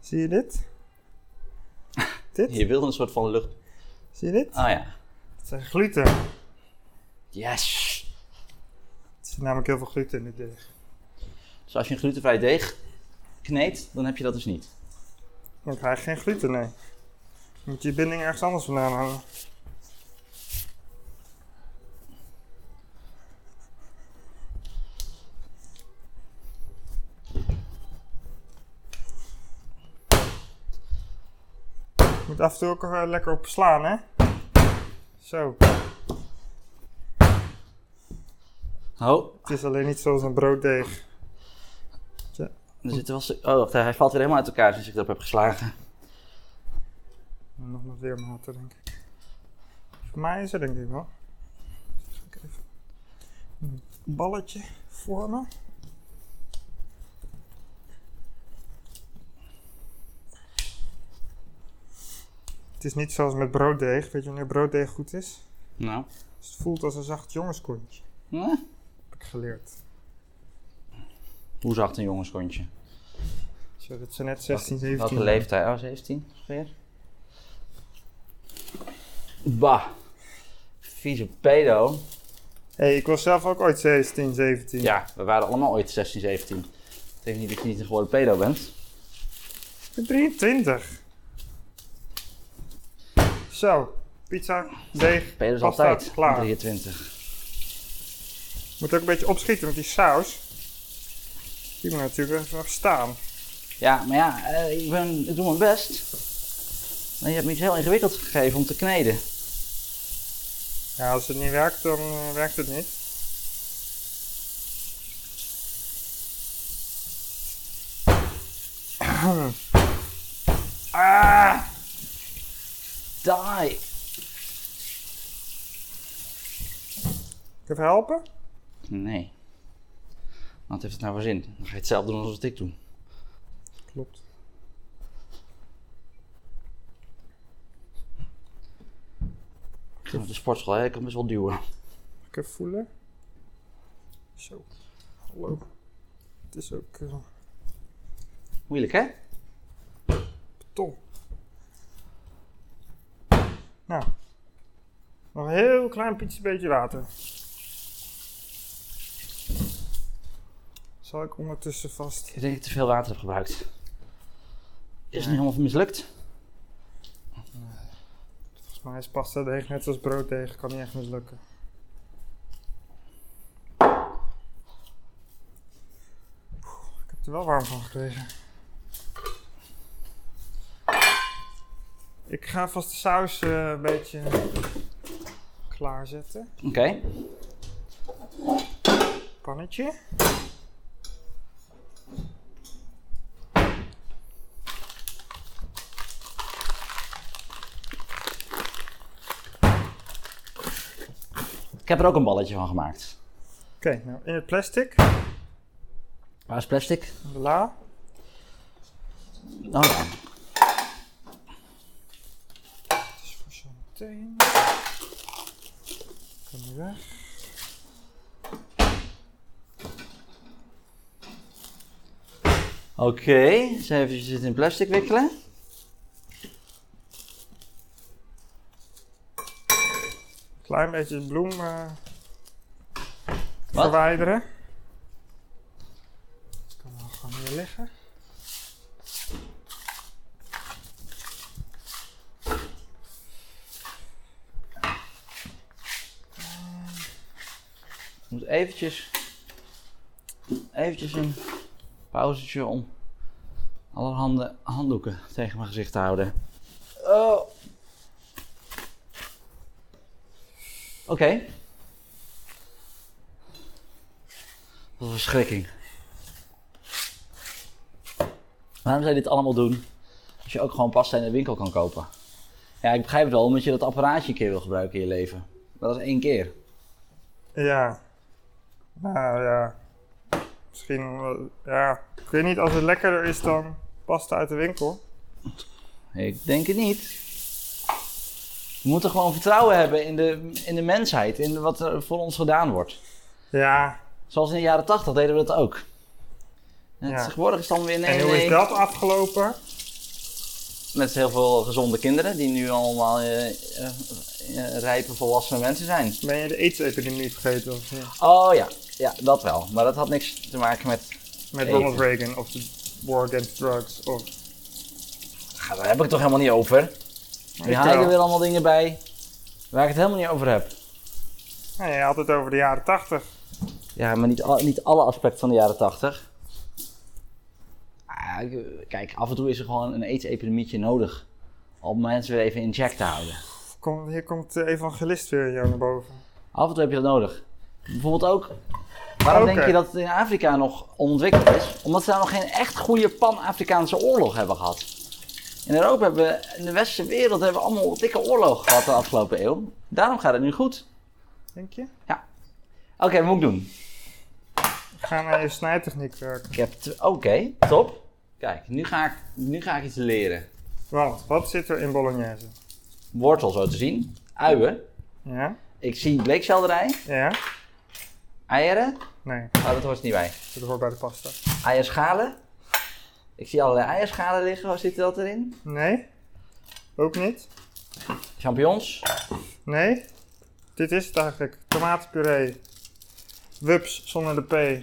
A: Zie je dit? dit?
B: Je wilde een soort van lucht...
A: Zie je dit?
B: Ah ja.
A: Het zijn gluten.
B: Yes!
A: Er zit namelijk heel veel gluten in dit deeg.
B: Dus als je een glutenvrij deeg kneedt, dan heb je dat dus niet.
A: Dan krijg je geen gluten, nee. Moet je je binding ergens anders vandaan hangen. Je moet af en toe ook er, eh, lekker op slaan, hè? Zo.
B: Oh,
A: Het is alleen niet zoals een brooddeeg.
B: er zitten wel... stuk- Oh, wacht, hij valt weer helemaal uit elkaar sinds ik erop heb geslagen.
A: Nog wat weer maten, denk ik. Voor mij is er denk ik wel. Ga ik even een balletje vormen. Het is niet zoals met brooddeeg. Weet je wanneer brooddeeg goed is?
B: Nou.
A: Als het voelt als een zacht jongenskontje.
B: Huh?
A: Heb ik geleerd.
B: Hoe zacht een jongenskontje?
A: Zo, dat zijn net 16, 17.
B: Welke leeftijd? Oh, 17 ongeveer. Bah. Vieze pedo.
A: hey, ik was zelf ook ooit 16, 17.
B: Ja, we waren allemaal ooit 16, 17. Dat betekent niet dat je niet een geworden pedo bent.
A: Ik ben 23. Zo, pizza, deeg,
B: Pedo is
A: Pasta,
B: dus altijd
A: klaar.
B: 23.
A: Moet ook een beetje opschieten met die saus. Die moet natuurlijk even nog staan.
B: Ja, maar ja, eh, ik, ben, ik doe mijn best. Maar je hebt me iets heel ingewikkeld gegeven om te kneden.
A: Ja, als het niet werkt, dan eh, werkt het niet. Ah!
B: Die!
A: Even helpen?
B: Nee. Wat heeft het nou voor zin? Dan ga je hetzelfde doen als wat ik doe.
A: Klopt.
B: Ik ga naar de sportschool, hè? ik kan best wel duwen.
A: Even voelen. Zo. Hallo. Het is ook eh,
B: Moeilijk, hè?
A: beton. Nou. Nog een heel klein pietje beetje water. Zal ik ondertussen vast
B: Ik denk dat ik te veel water heb gebruikt. Is het
A: Ja.
B: niet helemaal mislukt?
A: Volgens mij is pasta deeg net als brooddeeg, kan niet echt mislukken. Oeh, Ik heb er wel warm van gekregen. Ik ga vast de saus eh, een beetje klaarzetten.
B: Oké.
A: Pannetje.
B: Ik heb er ook een balletje van gemaakt.
A: Oké, nou in het plastic,
B: Waar is plastic?
A: in de la.
B: Oh ja.
A: Dat is voor zo meteen. Kan nu weg.
B: Oké, dus eventjes dit in plastic wikkelen.
A: Klein beetje bloem eh,
B: Wat?
A: verwijderen. Dat kan wel gewoon hier liggen.
B: Ik moet eventjes, eventjes een pauzetje om allerhande handdoeken tegen mijn gezicht te houden. Oh. Oké. Wat een verschrikking. Waarom zou je dit allemaal doen als je ook gewoon pasta in de winkel kan kopen? Ja, ik begrijp het wel, omdat je dat apparaatje een keer wil gebruiken in je leven. Maar dat is één keer.
A: Ja. Nou ja. Misschien, eh, ja. Ik weet niet, als het lekkerder is dan pasta uit de winkel.
B: Ik denk het niet. We moeten gewoon vertrouwen hebben in de, in de mensheid, in wat er voor ons gedaan wordt.
A: Ja.
B: Zoals in de jaren tachtig deden we dat ook. En
A: Ja.
B: Tegenwoordig is het dan weer nee,
A: en hoe
B: nee.
A: is dat afgelopen?
B: Met heel veel gezonde kinderen die nu allemaal eh, eh, eh, rijpe volwassene mensen zijn.
A: Ben je de AIDS-epidemie vergeten? Of, niet?
B: Oh ja, ja, dat wel. Maar dat had niks te maken met.
A: Met
B: Eten.
A: Ronald Reagan of de War Against Drugs of...
B: Ah, daar heb ik het toch helemaal niet over. Nu haal je er
A: Nou
B: weer allemaal dingen bij waar ik het helemaal niet over heb.
A: ja, je had het over de jaren 80.
B: Ja, maar niet, al- niet alle aspecten van de jaren tachtig. Ah, kijk, af en toe is er gewoon een aids-epidemietje nodig. Om mensen weer even in check te houden.
A: Kom, hier komt de evangelist weer jou naar boven.
B: Af en toe heb je dat nodig. Bijvoorbeeld ook. Waarom
A: Oké.
B: denk je dat het in Afrika nog onontwikkeld is? Omdat ze daar nog geen echt goede pan-Afrikaanse oorlog hebben gehad. In Europa hebben we, in de westerse wereld hebben we allemaal dikke oorlogen gehad de afgelopen eeuw. Daarom gaat het nu goed.
A: Denk je?
B: Oké, wat moet ik doen?
A: We gaan naar je snijtechniek werken.
B: Ik heb. tw- Oké, top. Kijk, nu ga, ik, nu ga ik iets leren.
A: Want, wat zit er in Bolognese?
B: wortel zo te zien, uien.
A: Ja?
B: Ik zie bleekselderij,
A: Ja?
B: eieren.
A: Nee,
B: Oh, dat hoort er niet bij.
A: dat hoort bij de pasta.
B: Eierschalen. Ik zie allerlei eierschalen liggen. Waar zit dat erin?
A: Nee? Ook niet?
B: Champignons.
A: Nee? Dit is het eigenlijk. Tomatenpuree. Wups zonder de P.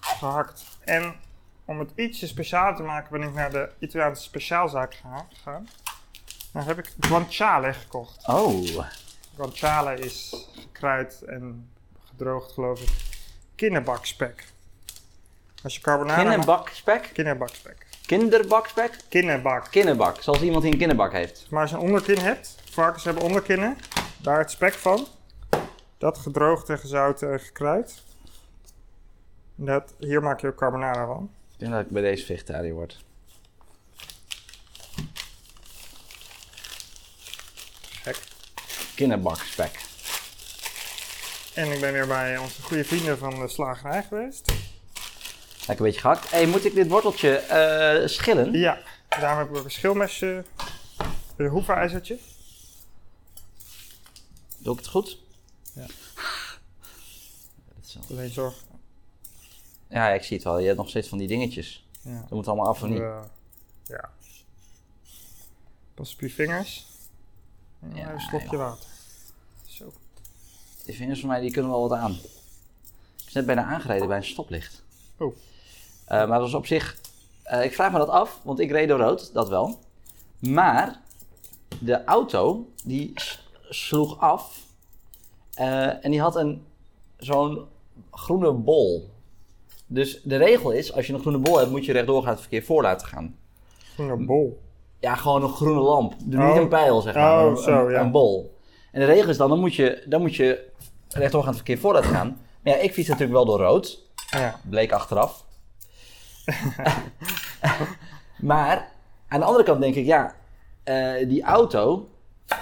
A: Gehakt. En om het ietsje speciaal te maken ben ik naar de Italiaanse speciaalzaak geha- gegaan. Daar heb ik guanciale gekocht.
B: Oh,
A: Guanciale is gekruid en gedroogd geloof ik. Kinderbakspek. Als je carbonara maakt-
B: kinderbakspek.
A: Kinderbakspek.
B: Kinderbakspek.
A: Kinderbak.
B: Kinderbak, zoals iemand die een kinderbak heeft.
A: Maar als je een onderkin hebt, varkens hebben onderkinnen, daar het spek van. Dat gedroogd en gezouten en gekruid. En Dat, hier maak je ook carbonara van.
B: Ik denk dat ik bij deze vegetariër word.
A: Gek.
B: Kinderbakspek.
A: En ik ben weer bij onze goede vrienden van de slagerij geweest.
B: Lekker een beetje gehakt. hey, moet ik dit worteltje eh, schillen?
A: Ja, daarom heb ik ook een schilmesje, een hoefijzertje.
B: Doe ik het goed?
A: Ja.
B: Dat is wel-
A: Alleen zorg.
B: Ja, ik zie het wel. Je hebt nog steeds van die dingetjes.
A: Ja.
B: Dat moet allemaal af of niet.
A: eh, ja. Pas op je vingers. En
B: Ja,
A: een slokje water. Zo.
B: Die vingers van mij die kunnen wel wat aan. Ik is net bijna aangereden bij een stoplicht.
A: Oh.
B: Eh, maar dat is op zich. eh, ik vraag me dat af, want ik reed door rood, dat wel. Maar de auto die s- sloeg af. eh, en die had een zo'n groene bol. Dus de regel is, als je een groene bol hebt, moet je rechtdoor gaan het verkeer voor laten gaan.
A: Groene bol.
B: Ja, gewoon een groene lamp. Dus
A: Oh.
B: Niet een pijl, zeg maar.
A: Oh,
B: maar een,
A: zo,
B: een-
A: ja.
B: een bol. En de regel is dan, dan moet je, dan moet je rechtdoor gaan het verkeer vooruit gaan. Maar ja, ik fiets natuurlijk wel door rood.
A: Ja.
B: Bleek achteraf. maar aan de andere kant denk ik, ja, eh, die auto...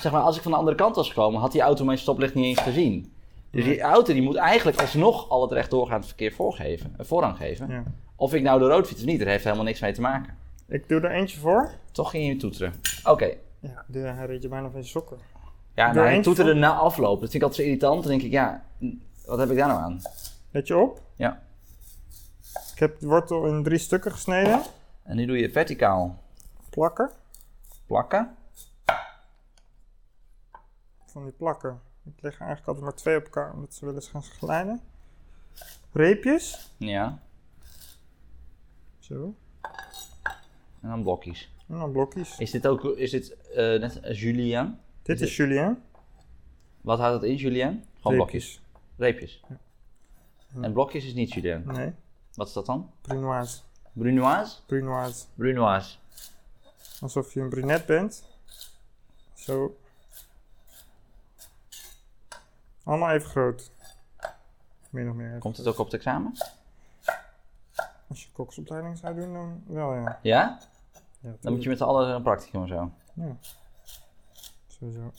B: Zeg maar, als ik van de andere kant was gekomen, had die auto mijn stoplicht niet eens gezien. Dus die auto die moet eigenlijk alsnog al het rechtdoorgaand verkeer voorgeven, eh, voorrang geven.
A: ja.
B: Of ik nou door rood fiets of niet, er heeft helemaal niks mee te maken.
A: Ik doe er eentje voor.
B: Toch ging je toeteren. Oké,
A: Ja, de, hij reed je bijna van je sokken.
B: Ja,
A: Door
B: nou, hij
A: één
B: toeterde
A: voet?
B: na afloop. Dat vind ik altijd zo irritant. Dan denk ik, ja, n- wat heb ik daar nou aan?
A: Let je op?
B: Ja.
A: Ik heb de wortel in drie stukken gesneden.
B: En nu doe je verticaal
A: Plakken.
B: plakken.
A: Van die plakken. Ik leg er eigenlijk altijd maar twee op elkaar, omdat ze willen eens gaan glijden. Reepjes.
B: Ja.
A: Zo.
B: En dan blokjes.
A: En dan blokjes.
B: Is dit ook, is dit eh, net als Julien?
A: Dit is Julien.
B: Wat houdt dat in, Julien? Gewoon Oh, blokjes. Reepjes. En blokjes is niet Julien.
A: Nee.
B: Wat is dat dan?
A: Brunoise.
B: Brunoise?
A: Brunoise.
B: Brunoise.
A: Alsof je een brunet bent. Zo. Allemaal even groot. Min of meer.
B: Komt het ook op het examen?
A: Als je koksopleiding zou doen, dan wel ja.
B: Ja?
A: ja
B: Dan moet je met z'n allen een practicum of zo.
A: Ja. Sowieso.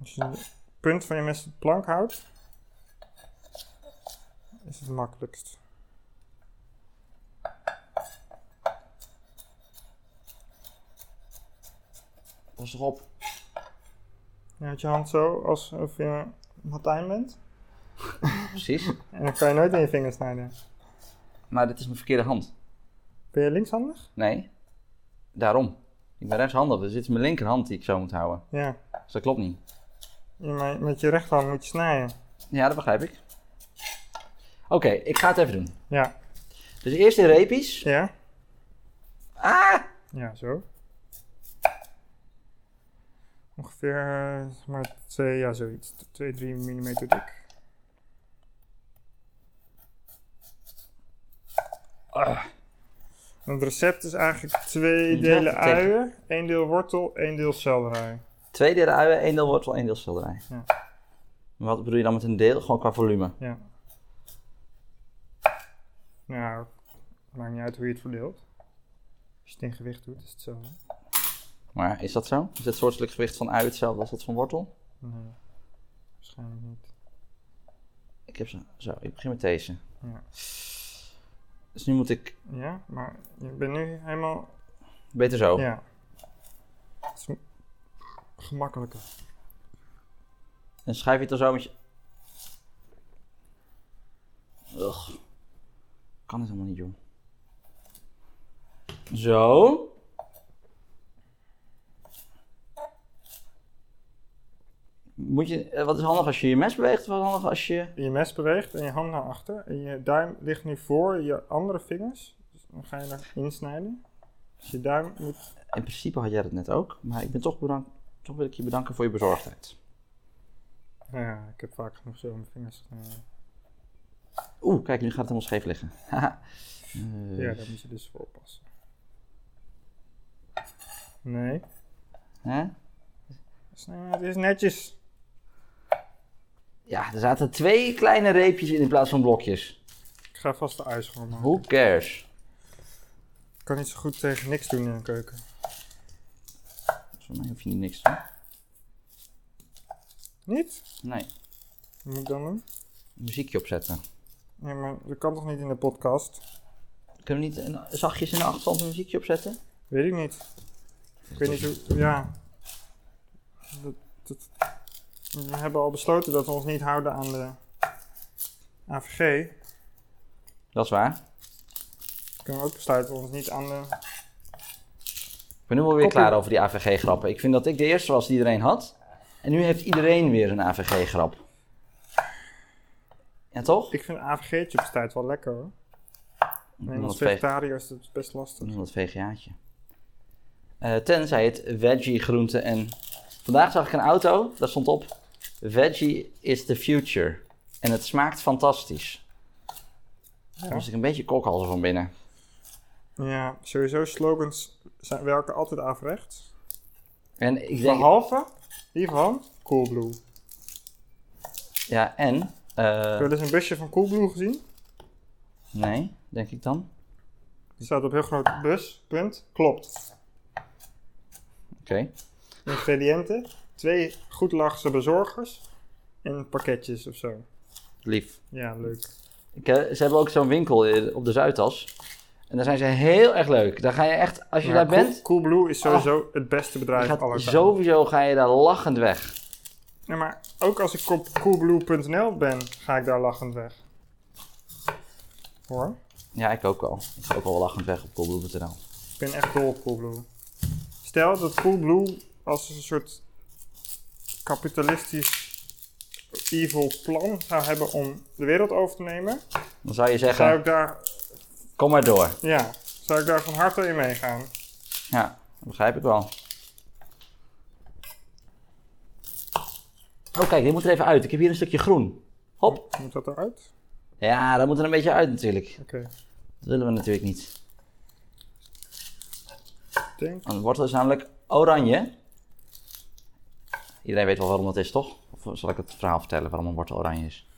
A: Als je het punt van je mes op de plank houdt, is het makkelijkst.
B: Pas toch op.
A: Je houdt je hand zo alsof je Martijn bent.
B: Precies.
A: En dan kan je nooit in je vingers snijden.
B: Maar dit is mijn verkeerde hand.
A: Ben je linkshandig?
B: Nee, daarom. Ik ben rechtshandig, dus dit is mijn linkerhand die ik zo moet houden.
A: Ja.
B: Dus dat klopt niet.
A: Ja, maar met je rechterhand moet je snijden.
B: Ja, dat begrijp ik. Oké, ik ga het even doen.
A: Ja.
B: Dus eerst in reepjes.
A: Ja?
B: Ah!
A: Ja, zo. Ongeveer, eh, zeg maar twee, ja, zoiets. 2, 3 mm dik.
B: Ah.
A: En het recept is eigenlijk twee
B: Ja,
A: delen
B: tegen.
A: uien, één deel wortel, één deel selderij.
B: Twee delen uien, één deel wortel, één deel schilderij.
A: Ja.
B: Maar Wat bedoel je dan met een deel? Gewoon qua volume.
A: Ja. Nou, maakt niet uit hoe je het verdeelt. Als je het in gewicht doet, is het zo.
B: Maar is dat zo? Is het soortelijk gewicht van ui hetzelfde als dat van wortel?
A: Nee, waarschijnlijk niet.
B: Ik heb zo. Zo, ik begin met deze.
A: Ja.
B: Dus nu moet ik
A: Ja, maar je bent nu helemaal.
B: beter zo.
A: Ja. Het is m- gemakkelijker.
B: En schuif je het dan zo met je... Ugh. Kan het helemaal niet, joh. Zo. Moet je, eh, wat is handig als je je mes beweegt? Wat is handig als je...
A: Je mes beweegt en je hand naar achter. En je duim ligt nu voor je andere vingers. Dus dan ga je daar insnijden. Dus je duim moet.
B: In principe had jij dat net ook, maar ik ben toch bedankt... Toch wil ik je bedanken voor je bezorgdheid.
A: Ja, ik heb vaak genoeg zo mijn vingers gesneden.
B: Oeh, kijk, nu gaat het helemaal scheef liggen. Haha. Eh,
A: Ja, daar moet je dus voor oppassen. Nee.
B: hè?
A: Snijden, Dus, nou het is netjes.
B: Ja, er zaten twee kleine reepjes in in plaats van blokjes.
A: Ik ga vast de ijs gewoon maken.
B: Who cares?
A: Ik kan niet zo goed tegen niks doen in de keuken.
B: Voor mij hoef je niet niks te doen.
A: Niet?
B: Nee,
A: Wat moet ik dan doen?
B: muziekje opzetten.
A: Nee, maar dat kan toch niet in de podcast?
B: Kunnen we niet een, zachtjes in de achtergrond een muziekje opzetten?
A: Weet ik niet. Ik weet niet hoe. Ja. Dat, dat- we hebben al besloten dat we ons niet houden aan de AVG.
B: Dat is waar.
A: We kunnen ook besluiten ons niet aan de.
B: Ik ben nu wel weer
A: Koppie.
B: klaar over die AVG-grappen. Ik vind dat ik de eerste was die iedereen had. En nu heeft iedereen weer een AVG-grap. Ja, toch?
A: Ik vind AVG'tje op tijd wel lekker hoor. Nee,
B: Noem
A: als
B: dat veg-
A: vegetariër is het best lastig.
B: noem dat VGA'tje. Eh, tenzij het veggie, groente en... Vandaag zag ik een auto, daar stond op... Veggie is the future. En het smaakt fantastisch. Daar moest ik een beetje kokhalzen van binnen.
A: Ja, sowieso slogans zijn, werken altijd averechts.
B: En ik denk...
A: Behalve die van Coolblue.
B: Ja, en. eh,
A: Heb je wel eens een busje van Coolblue gezien?
B: nee, denk ik dan.
A: Die staat op heel groot bus, punt, klopt.
B: Oké.
A: ingrediënten, twee goed lachse bezorgers en pakketjes of zo.
B: Lief.
A: Ja, leuk.
B: Ik, eh, ze hebben ook zo'n winkel eh, op de Zuidas. En daar zijn ze heel erg leuk. Daar ga je echt, als je
A: Maar
B: daar
A: Cool-
B: bent, Ah.
A: Coolblue is sowieso het beste bedrijf
B: je gaat
A: aller tijden.
B: sowieso ga je daar lachend weg.
A: Nee, maar ook als ik op coolblue.nl ben, ga ik daar lachend weg. Hoor,
B: Ja, ik ook al. Ik ga ook al lachend weg op coolblue.nl.
A: ik ben echt dol op Coolblue. Stel dat Coolblue als een soort kapitalistisch evil plan zou hebben om de wereld over te nemen,
B: Dan zou je
A: zou
B: zeggen,
A: ik daar,
B: kom maar door.
A: ja, zou ik daar van harte in meegaan.
B: Ja, dat begrijp ik wel. Oh kijk, dit moet er even uit. Ik heb hier een stukje groen. Hop.
A: Moet dat eruit?
B: Ja, dat moet er een beetje uit natuurlijk.
A: Oké.
B: Dat willen we natuurlijk niet.
A: Ik denk
B: Een wortel is namelijk oranje. Iedereen weet wel waarom dat is, toch? Of zal ik het verhaal vertellen waarom een wortel oranje is?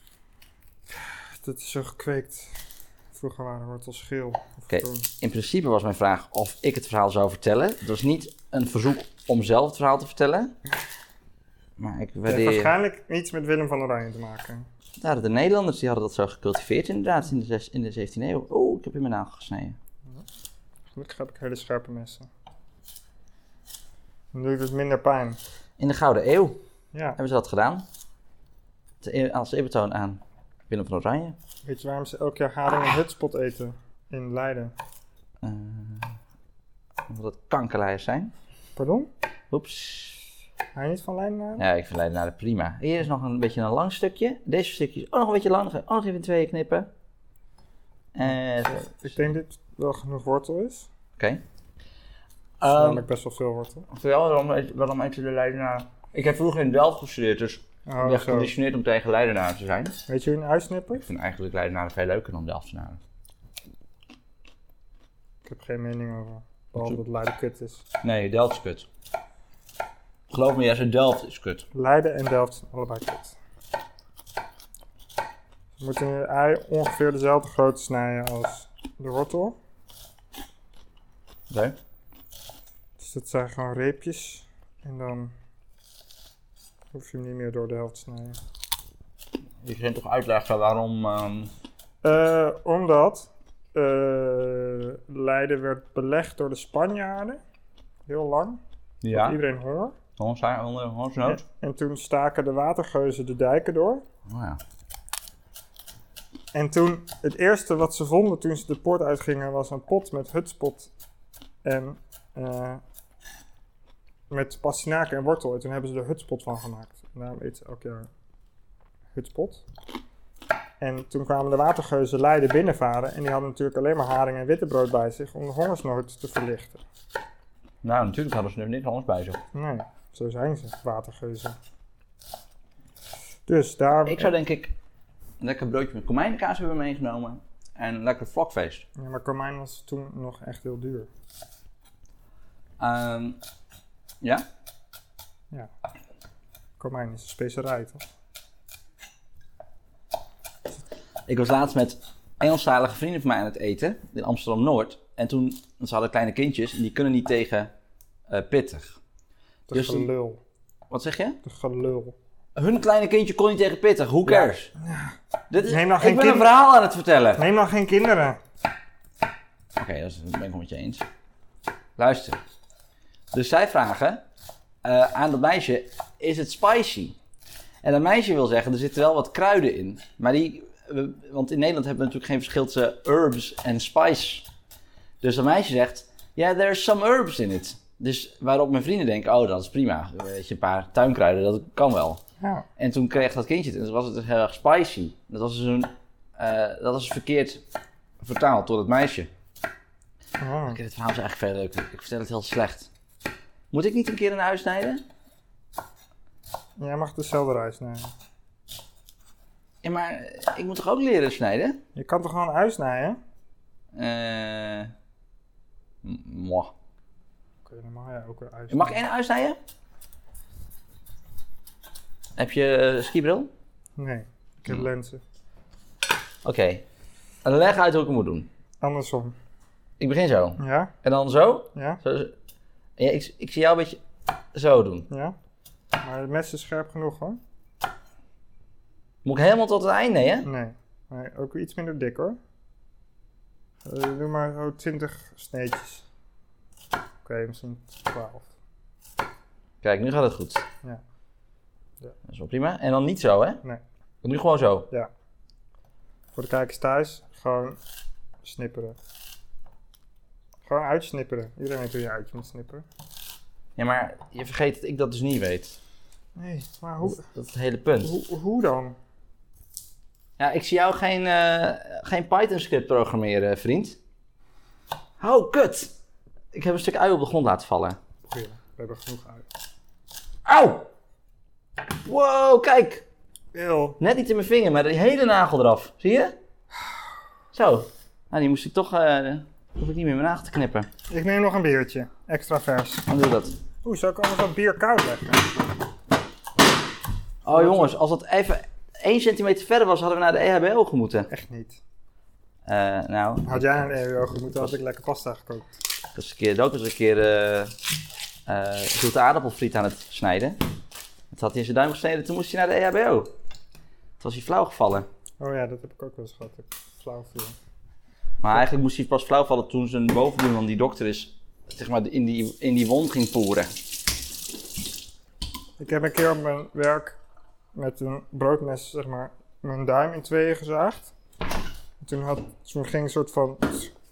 A: dat is zo gekweekt. Vroeger waren wortels geel. Of
B: Oké.
A: groen.
B: In principe was mijn vraag of ik het verhaal zou vertellen. Het was niet een verzoek om zelf het verhaal te vertellen. Maar ik
A: Het heeft
B: waardeer...
A: waarschijnlijk niets met Willem van Oranje te maken.
B: Ja, de Nederlanders die hadden dat zo gecultiveerd inderdaad in de, zes- in de 17e eeuw. Oeh, ik heb in mijn nagel gesneden.
A: Gelukkig heb ik hele scherpe messen. Dan doe ik dus minder pijn.
B: In de Gouden Eeuw
A: Ja,
B: hebben ze dat gedaan. Te eer- Als eerbetoon aan Willem van Oranje.
A: weet je waarom ze elk jaar haring en hutspot eten? In Leiden.
B: Eh, eh, moet dat kankerlijers zijn.
A: Pardon?
B: Oeps.
A: Ga je niet van lijn naar?
B: Ja, ik vind Leidenaren prima. Hier is nog een beetje een lang stukje. Deze stukje is ook nog een beetje lang. Ga ik ook nog even in tweeën knippen. Eh, zo.
A: Ik denk dat dit wel genoeg wortel is.
B: Oké.
A: Het is
B: Ehm,
A: namelijk best wel veel wortel.
B: Vertel waarom, waarom eten de Leidenaren... Ik heb vroeger in Delft gestudeerd, dus ik
A: Oh,
B: ben
A: zo.
B: geconditioneerd om tegen Leidenaren te zijn.
A: Weet je hoe je een ui snippert?
B: Ik vind eigenlijk Leidenaren veel leuker dan Delftenaren.
A: Ik heb geen mening over. Behalve dat Leiden kut is.
B: Nee, Delft is kut. Geloof me, jij zei Delft is kut.
A: Leiden en Delft zijn allebei kut. We moeten een ei ongeveer dezelfde grootte snijden als de wortel.
B: Oké.
A: Dus dat zijn gewoon reepjes. En dan hoef je hem niet meer door de helft te snijden.
B: Je kunt toch uitleggen waarom... ehm,
A: Eh, omdat eh, Leiden werd belegd door de Spanjaarden. Heel lang.
B: ja,
A: Iedereen honger.
B: hongersnood. Honger, hongersnood.
A: En toen staken de watergeuzen de dijken door.
B: Oh ja.
A: En toen, het eerste wat ze vonden toen ze de poort uitgingen, was een pot met hutspot en eh, met pastinaken en wortel. En toen hebben ze er hutspot van gemaakt. En Daarom eet ze elk jaar hutspot. En toen kwamen de watergeuzen Leiden binnenvaren en die hadden natuurlijk alleen maar haring en wittebrood bij zich om de hongersnood te verlichten.
B: Nou, natuurlijk hadden ze er niks anders bij zich.
A: Nee, zo zijn ze, watergeuzen. Dus daar...
B: Ik zou denk ik een lekker broodje met komijnenkaas hebben meegenomen. En een lekker vlokfeest.
A: Ja, maar komijn was toen nog echt heel duur.
B: Ehm, ja?
A: Komijn is een specerij, toch?
B: Ik was laatst met Engelstalige vrienden van mij aan het eten. In Amsterdam-Noord. En toen, want ze hadden kleine kindjes. En die kunnen niet tegen eh, pittig.
A: De
B: Dus dan-
A: gelul.
B: Wat zeg je?
A: De gelul.
B: Hun kleine kindje kon niet tegen pittig. Who cares? Dit is,
A: Neem nou
B: ik
A: geen
B: ben een
A: kind-
B: verhaal aan het vertellen.
A: Neem nou geen kinderen.
B: Oké, dat is- dat ben ik wel met je eens. Luister. Dus zij vragen eh, aan dat meisje: Is het spicy? En dat meisje wil zeggen: Er zitten wel wat kruiden in. Maar die. we- want in Nederland hebben we natuurlijk geen verschil tussen herbs en spice. Dus dat meisje zegt: Ja, yeah, there's some herbs in it. Dus waarop mijn vrienden denken: Oh, dat is prima. Weet je, een paar tuinkruiden, dat kan wel.
A: Ja.
B: En toen kreeg dat kindje het en toen was het dus heel erg spicy. Dat was dus een. eh, dat was verkeerd vertaald door het meisje.
A: Ah.
B: Oké, dit verhaal is eigenlijk veel leuker. Ik vertel het heel slecht. Moet ik niet een keer een huis snijden?
A: Jij mag dezelfde reis nemen.
B: Ja, maar eh, ik moet toch ook leren snijden?
A: Je kan toch gewoon huis snijden?
B: Eh. m- mwah.
A: Oké, dan mag jij ook een huis.
B: Je Mag ik één huis snijden? Heb je eh, skibril? Oké.
A: Nee, ik heb
B: Hm.
A: lenzen.
B: Leg uit hoe ik het moet doen.
A: Andersom.
B: Ik begin zo.
A: Ja?
B: En dan zo.
A: Ja?
B: zo zo. Ja, ik, ik zie jou een beetje zo doen.
A: Ja? Maar het mes is scherp genoeg hoor.
B: Moet ik helemaal tot het einde, hè?
A: Nee. Maar ook iets minder dik hoor. Eh, doe maar zo 20 sneetjes. Oké, misschien 12.
B: Kijk, nu gaat het goed.
A: Ja. Ja.
B: Dat is wel prima. En dan niet zo, hè?
A: Nee.
B: Nu gewoon zo.
A: Voor de kijkers thuis, gewoon snipperen. Gewoon uitsnipperen. Iedereen weet hoe je uitje moet snipperen.
B: Ja, maar je vergeet dat ik dat dus niet weet.
A: Nee, maar
B: Dat,
A: hoe,
B: dat is het hele punt.
A: hoe, hoe dan?
B: Ja, ik zie jou geen, eh, geen Python script programmeren, eh, vriend. Oh, kut! Ik heb een stuk ui op de grond laten vallen.
A: Goeie, we hebben genoeg uit.
B: Auw! Wow, kijk!
A: Wil.
B: Net niet in mijn vinger, maar die hele nagel eraf. Zie je? Zo. Nou, die moest ik toch... eh hoef ik niet meer in mijn nagel te knippen.
A: Ik neem nog een biertje. Extra vers.
B: Dan doe dat.
A: Oeh, zou ik anders dat bier koud leggen?
B: Oh, jongens, als dat even 1 centimeter verder was, hadden we naar de E EHBO gemoeten.
A: Echt niet.
B: Eh nou,
A: Had jij een EWO gemoeten, had ik lekker pasta gekookt.
B: Dat is Dus een keer, dat was een keer eh eh, zoete aardappelfriet aan het snijden. Het had hij in zijn duim gesneden, toen moest hij naar de E EHBO. Toen was hij flauw gevallen.
A: Oh ja, dat heb ik ook wel eens gehad. dat Ik flauw viel.
B: Maar eigenlijk moest hij pas flauw vallen toen zijn bovenbuurman, die dokter is, zeg maar in die, in die wond ging poeren.
A: Ik heb een keer op mijn werk met een broodmes, zeg maar, mijn duim in tweeën gezaagd. En Toen, had, toen ging ik een soort van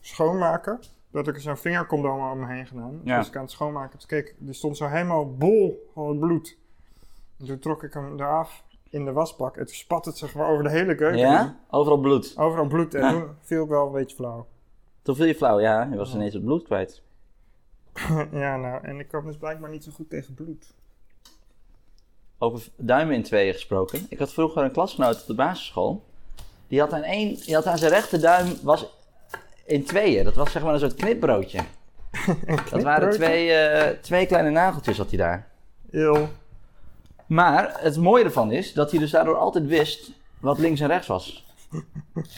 A: schoonmaken. dat ik er zo'n vingercondoom om me heen gedaan.
B: Ja.
A: Dus ik aan het schoonmaken. Toen keek, ik, die stond zo helemaal bol van het bloed. En toen trok ik hem eraf in de wasbak. En toen spat het zeg maar over de hele keuken.
B: Ja? Overal bloed.
A: Overal bloed. En
B: Ja.
A: toen viel ik wel een beetje flauw.
B: Toen viel je flauw, ja. Je was ineens het bloed kwijt.
A: ja, nou, en ik kan dus blijkbaar niet zo goed tegen bloed.
B: Over v- duimen in tweeën gesproken. Ik had vroeger een klasgenoot op de basisschool. Die had aan, één, die had aan zijn rechterduim was in tweeën. Dat was zeg maar een soort knipbroodje. Dat waren
A: Knipbroodje?
B: twee, eh, twee kleine nageltjes had hij daar.
A: Eeuw.
B: Maar het mooie ervan is dat hij dus daardoor altijd wist wat links en rechts was. Want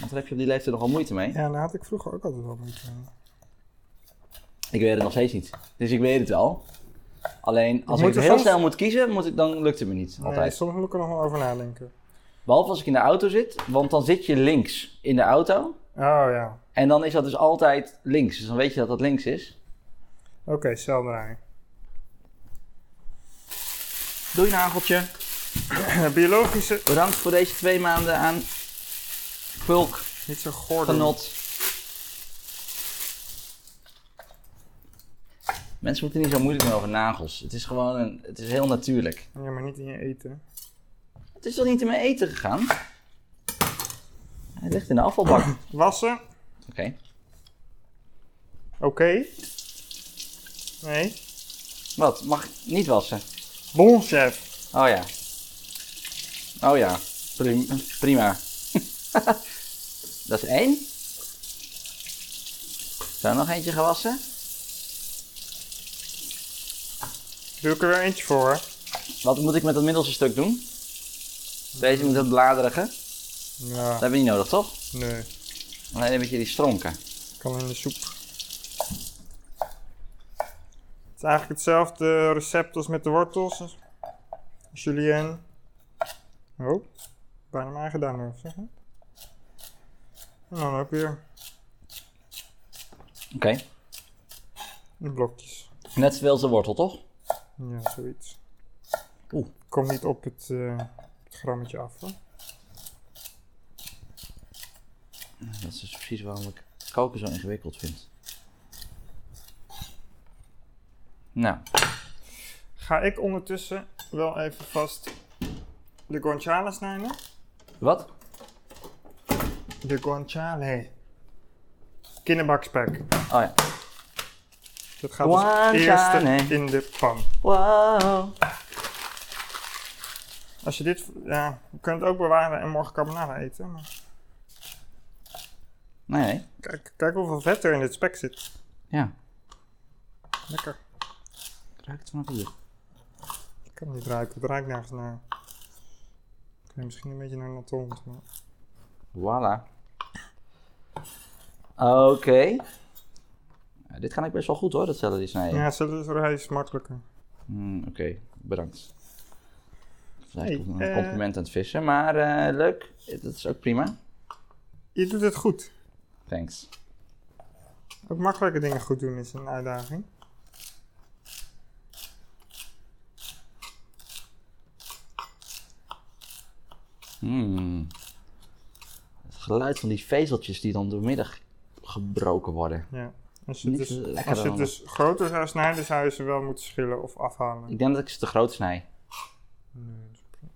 B: daar heb je op die leeftijd nogal moeite mee.
A: Ja, daar had ik vroeger ook altijd wel bloed aan.
B: Ik weet het nog steeds niet. Dus ik weet het wel. Alleen als
A: moet
B: ik
A: er
B: heel
A: soms-
B: snel moet kiezen, moet ik, dan lukt het me niet. Altijd.
A: Nee, soms moet ik er nog wel over nadenken.
B: Behalve als ik in de auto zit, want dan zit je links in de auto.
A: Oh ja.
B: En dan is dat dus altijd links. Dus dan weet je dat dat links is.
A: Oké, cel draaien.
B: Doei nageltje.
A: Biologische.
B: Bedankt voor deze twee maanden aan Pulk
A: Niet zo goor. doen.
B: genot. Mensen moeten niet zo moeilijk doen over nagels. Het is gewoon een, het is heel natuurlijk.
A: Ja, maar niet in je eten.
B: Het is toch niet in mijn eten gegaan? Hij ligt in de afvalbak. Oké.
A: Wassen. Oké. Nee.
B: Wat? Mag ik niet wassen?
A: Bonchef.
B: Oh ja. Oh ja. Prim- prima. Dat is één. Zou er nog eentje gewassen?
A: Doe ik er weer eentje voor. hè?
B: Wat moet ik met dat middelste stuk doen? Deze moet dat bladerige. Dat
A: Ja,
B: hebben we niet nodig, toch?
A: Nou, nee.
B: Alleen een beetje die stronken.
A: Kan in de soep. Het is eigenlijk hetzelfde recept als met de wortels. Julienne. Oh, bijna mijn eigen duim hoor, zeg maar. En dan ook weer
B: Oké.
A: in blokjes.
B: Net zoveel als de wortel, toch?
A: Ja, zoiets.
B: Oeh.
A: Kom niet op het, eh, het grammetje af hoor.
B: Dat is dus precies waarom ik koken zo ingewikkeld vind. Nou,
A: Ga ik ondertussen wel even vast de guanciale snijden.
B: wat?
A: De guanciale. Kinderbakspek.
B: Oh ja.
A: Dat gaat als
B: Guanciale.
A: eerste in de pan.
B: Wow.
A: Als je dit, ja, je kunt het ook bewaren en morgen carbonara eten. Maar
B: Nee,
A: kijk, kijk hoeveel vet er in dit spek zit.
B: ja.
A: Lekker.
B: Ik ruik het vanaf hier.
A: Ik kan het niet ruiken, het ruikt nergens naar. Ik weet misschien een beetje naar natont, maar...
B: Voilà. Oké. Nou, dit kan ik best wel goed hoor, dat celery snijden.
A: Ja, celery is makkelijker.
B: Hmm, Oké, bedankt. Dat is
A: Hey,
B: eigenlijk
A: eh.
B: een compliment aan het vissen, maar eh, leuk. Dat is ook prima.
A: Je doet het goed.
B: Thanks.
A: Ook makkelijke dingen goed doen is een uitdaging.
B: Hmm. Het geluid van die vezeltjes die dan doormiddag gebroken worden.
A: Ja. Als je, het
B: Niet
A: dus,
B: lekker
A: als je het
B: allemaal.
A: dus groter zou snijden, zou je ze wel moeten schillen of afhalen.
B: Ik denk dat ik ze te groot snij.
A: Nee, dat is prima.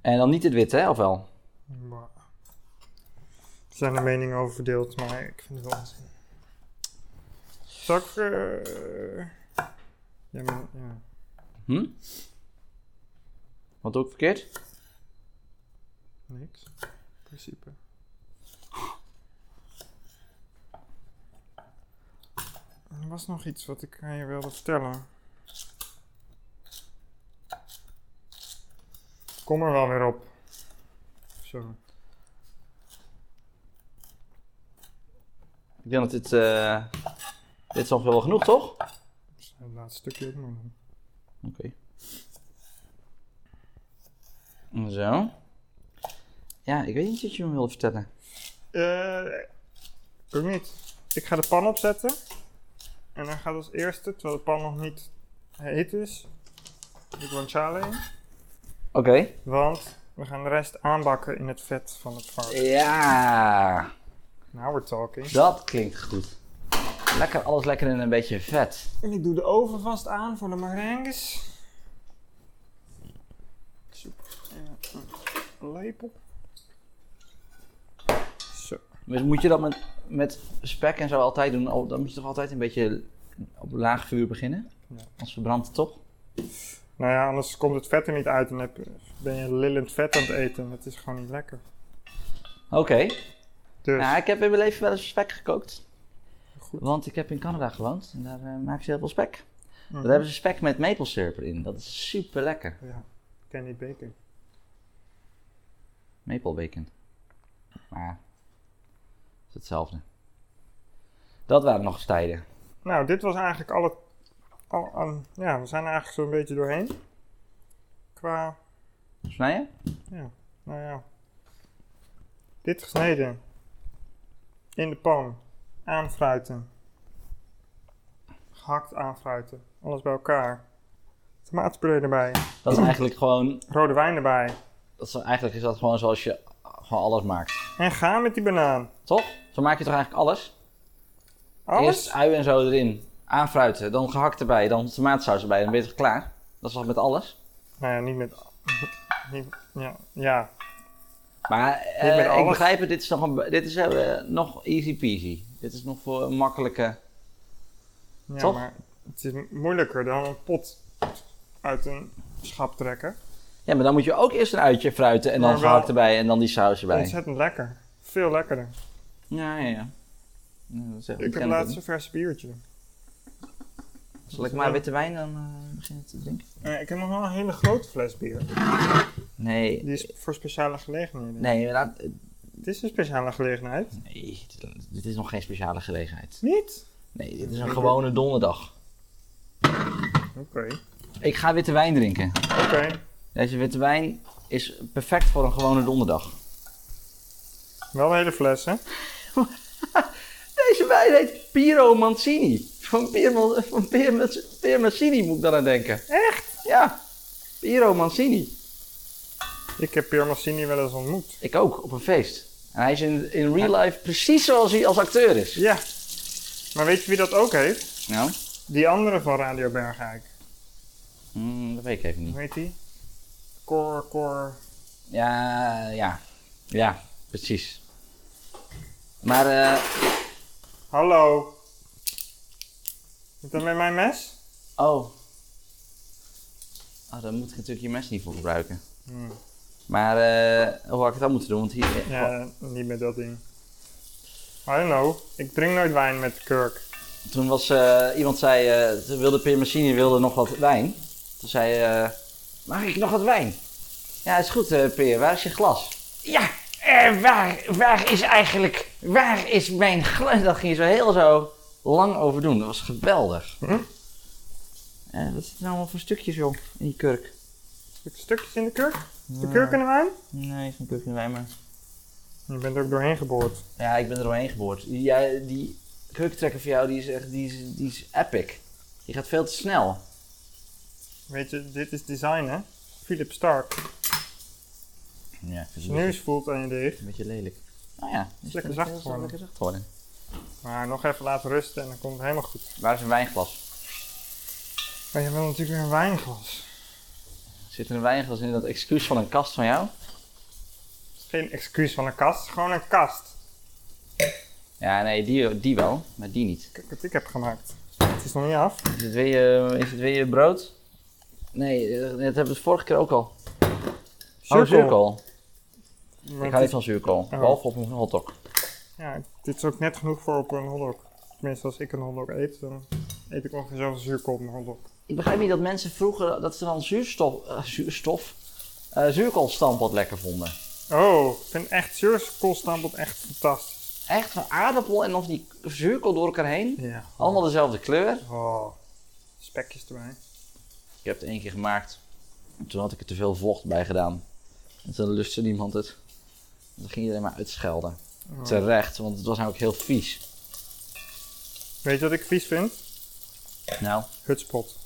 B: En dan niet het wit, hè? Of wel?
A: Maar- Er zijn er meningen over verdeeld, maar ik vind het wel onzin. Zal ik... eh, Ja, maar, ja.
B: Hm? Wat doe ik verkeerd?
A: Niks. In principe. Er was nog iets wat ik aan je wilde vertellen. Kom er wel weer op. Zo.
B: Ik denk dat dit... eh, dit is ongeveer wel genoeg, toch? Oké.
A: Het laatste stukje ook nog. doen.
B: Zo. Ja, ik weet niet wat je me wilde vertellen.
A: Eh, ook niet. Ik ga de pan opzetten. En dan gaat als eerste, terwijl de pan nog niet heet is, de guanciale in.
B: Oké.
A: Want we gaan de rest aanbakken in het vet van het varken.
B: Ja.
A: Now we're talking.
B: Dat klinkt goed. Lekker, alles lekker en een beetje vet.
A: En ik doe de oven vast aan voor de meringues. Zoek eh, een lepel. Zo.
B: Dus moet je dat met, met spek en zo altijd doen? Oh, Dan moet je toch altijd een beetje op laag vuur beginnen?
A: Ja.
B: Anders verbrandt het toch?
A: Nou ja, anders komt het vet er niet uit en heb, ben je lillend vet aan het eten. Dat is gewoon niet lekker.
B: Oké.
A: Dus,
B: Nou, ik heb in mijn leven wel eens spek gekookt.
A: Goed.
B: Want ik heb in Canada gewoond en daar eh, maken ze heel veel spek.
A: mhm.
B: Daar hebben ze spek met maple syrup in. Dat is super lekker.
A: Ja, ik ken niet bacon.
B: Maple bacon. Maar het is hetzelfde. Dat waren nog eens tijden.
A: Nou, dit was eigenlijk al het. Al, aan- ja, we zijn er eigenlijk zo'n beetje doorheen. Qua,
B: Snijden?
A: nou ja. Dit gesneden. In de pan. Aanfruiten. Gehakt aanfruiten. Alles bij elkaar. Tomatenpuree erbij.
B: Dat is eigenlijk gewoon,
A: Rode wijn erbij.
B: dat is, eigenlijk is dat gewoon zoals je gewoon alles maakt.
A: En ga met die banaan.
B: Toch? Zo maak je toch eigenlijk alles? Eerst
A: Alles?
B: ui en zo erin. Aanfruiten, dan gehakt erbij, dan tomaatsaus erbij, dan ben je toch klaar? Dat is toch met alles?
A: Nou ja, niet met. Niet, ja, ja,
B: Maar eh,
A: Niet met alles.
B: ik begrijp het, dit is nog, een, dit is, eh, nog easy peasy. Dit is nog voor een makkelijke...
A: ja
B: Toch?
A: maar het is moeilijker dan een pot uit een schap trekken.
B: Ja, maar dan moet je ook eerst een uitje fruiten en dan
A: Maar wel-
B: gehakt erbij en dan die saus erbij.
A: Ontzettend lekker. Veel lekkerder.
B: Ja, ja, ja. Ja, dat is echt
A: Ik heb
B: ontzettend.
A: laatst een vers biertje.
B: Zal ik maar witte wijn dan eh, beginnen te drinken?
A: Eh, ik heb nog wel een hele grote fles bier.
B: Nee,
A: Die is voor speciale gelegenheden.
B: nee, laat- eh,
A: Het is een speciale gelegenheid.
B: nee dit, dit is nog geen speciale gelegenheid.
A: Niet?
B: Nee, dit is een gewone donderdag.
A: Oké.
B: Ik ga witte wijn drinken.
A: Oké.
B: Deze witte wijn is perfect voor een gewone donderdag.
A: Wel een hele fles, hè?
B: Deze wijn heet Piero Mancini. Van Pier, van Pier, Pier Mancini moet ik dan aan denken. Echt? Ja, Piero Mancini.
A: Ik heb Pier Massini wel eens ontmoet.
B: Ik ook, op een feest. En hij is in, in real life precies zoals hij als acteur is.
A: Ja. Maar weet je wie dat ook heeft?
B: Nou,
A: Die andere van Radio Bergijk.
B: mm, dat weet ik even niet.
A: Hoe heet die? Cor, Cor...
B: Ja, ja, ja, precies. Maar, eh,
A: Hallo. Is dat met mijn mes?
B: oh. Oh, daar moet ik natuurlijk je mes niet voor gebruiken.
A: Hm.
B: Maar eh, hoe had ik dat moeten doen? Want hier,
A: Ja, niet met dat ding. I don't know. Ik drink nooit wijn met kurk.
B: Toen was eh, iemand zei, eh, ze wilde Pierre Massini wilde nog wat wijn. Toen zei, eh, mag ik nog wat wijn? Ja, is goed, eh Peer. Waar is je glas? Ja, eh, waar, waar is eigenlijk, waar is mijn glas? Dat ging je zo heel zo lang over doen. Dat was geweldig.
A: Hm?
B: Eh, wat zit er nou allemaal voor stukjes, joh, in die kurk?
A: Stuk- Stukjes in de kurk? Is De kurk in de wijn?
B: Nee, is een kurk in wijn, maar...
A: Je bent er ook doorheen geboord.
B: Ja, ik ben er doorheen geboord. Ja, die kurktrekker voor jou, die is echt, die is, die is epic. Die gaat veel te snel.
A: Weet je, dit is design hè? Philip Stark.
B: Ja, ik
A: Als
B: vind het
A: je neus voelt aan je deeg.
B: Een beetje lelijk. Nou ja, is
A: lekker
B: het
A: zacht
B: heel
A: geworden.
B: Lekker zacht geworden.
A: Maar nog even laten rusten en dan komt het helemaal goed.
B: Waar is een wijnglas?
A: Maar je wil natuurlijk weer een wijnglas.
B: Zit er een wijnglas in dat excuus van een kast van jou?
A: Het is Geen excuus van een kast, gewoon een kast.
B: Ja, nee, die, die wel, maar die niet.
A: Kijk wat ik heb gemaakt. Het is nog niet af.
B: Is het weer je, is het weer je brood? Nee, eh, dat hebben we het vorige keer ook al. Oh, zuurkool.
A: Maar
B: Ik
A: het
B: hou
A: is-
B: niet van zuurkool. Behalve op een hotdog.
A: ja, dit is ook net genoeg voor op een hotdog. Tenminste, als ik een hotdog eet, dan eet ik ongeveer zoveel zuurkool op een hotdog.
B: Ik begrijp niet dat mensen vroeger dat ze dan zuurstof, eh, zuurstof eh, zuurkoolstampot lekker vonden.
A: Oh, ik vind echt zuurkoolstampot echt fantastisch.
B: Echt van aardappel en nog die zuurkool door elkaar heen.
A: Ja.
B: Allemaal dezelfde kleur.
A: Oh, spekjes erbij.
B: Ik heb het één keer gemaakt. En toen had ik er te veel vocht bij gedaan. En toen lustte niemand het. En toen ging iedereen maar uitschelden.
A: Oh.
B: Terecht, want het was namelijk heel vies.
A: Weet je wat ik vies vind?
B: Nou,
A: Hutspot.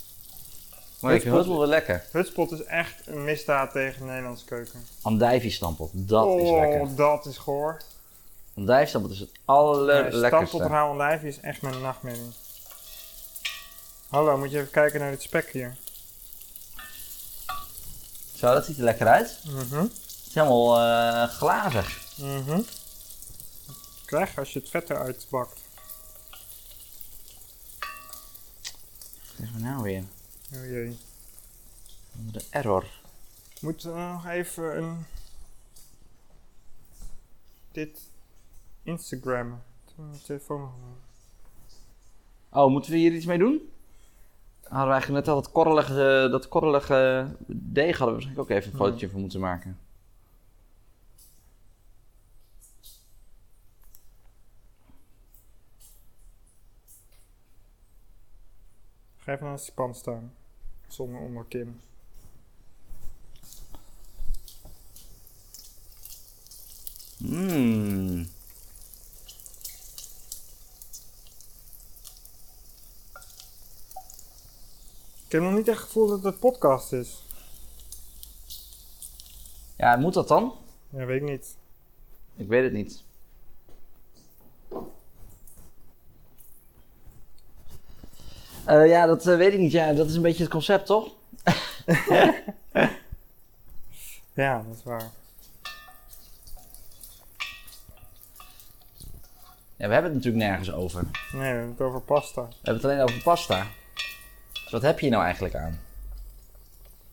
B: maar ik
A: Hutspot.
B: vind het wel lekker.
A: Hutspot is echt een misdaad tegen de Nederlandse keuken.
B: Andijvie stampot, dat
A: oh,
B: is lekker.
A: dat is goor.
B: Olijfstamppot is het
A: Uh,
B: allerlekkerste.
A: Stampot rauw olijfje is echt mijn nachtmerrie. Hallo, moet je even kijken naar dit spek hier.
B: Zo, dat ziet er lekker uit.
A: Mhm.
B: Het is helemaal eh, glazig.
A: Mhm. Krijg als je het vet eruit bakt.
B: Wat is er nou weer?
A: Oh jee.
B: De error.
A: Moet er nog even een. Dit. Instagram. Telefoon.
B: Oh, moeten we hier iets mee doen? Hadden we eigenlijk net al dat korrelige, dat korrelige deeg hadden we waarschijnlijk ook even een
A: Hmm.
B: fotootje van moeten maken.
A: Ga even naast die pan staan. Zonder onderkin.
B: Mmm.
A: Ik heb nog niet echt het gevoel dat het podcast is.
B: Ja, moet dat dan?
A: Ja, weet ik niet.
B: Ik weet het niet. Eh, ja, dat eh, weet ik niet. Ja, dat is een beetje het concept, toch?
A: Ja, dat is waar.
B: Ja, we hebben het natuurlijk nergens over. We
A: Nee, we hebben het over pasta.
B: hebben het alleen over pasta. Dus wat heb je hier nou eigenlijk aan?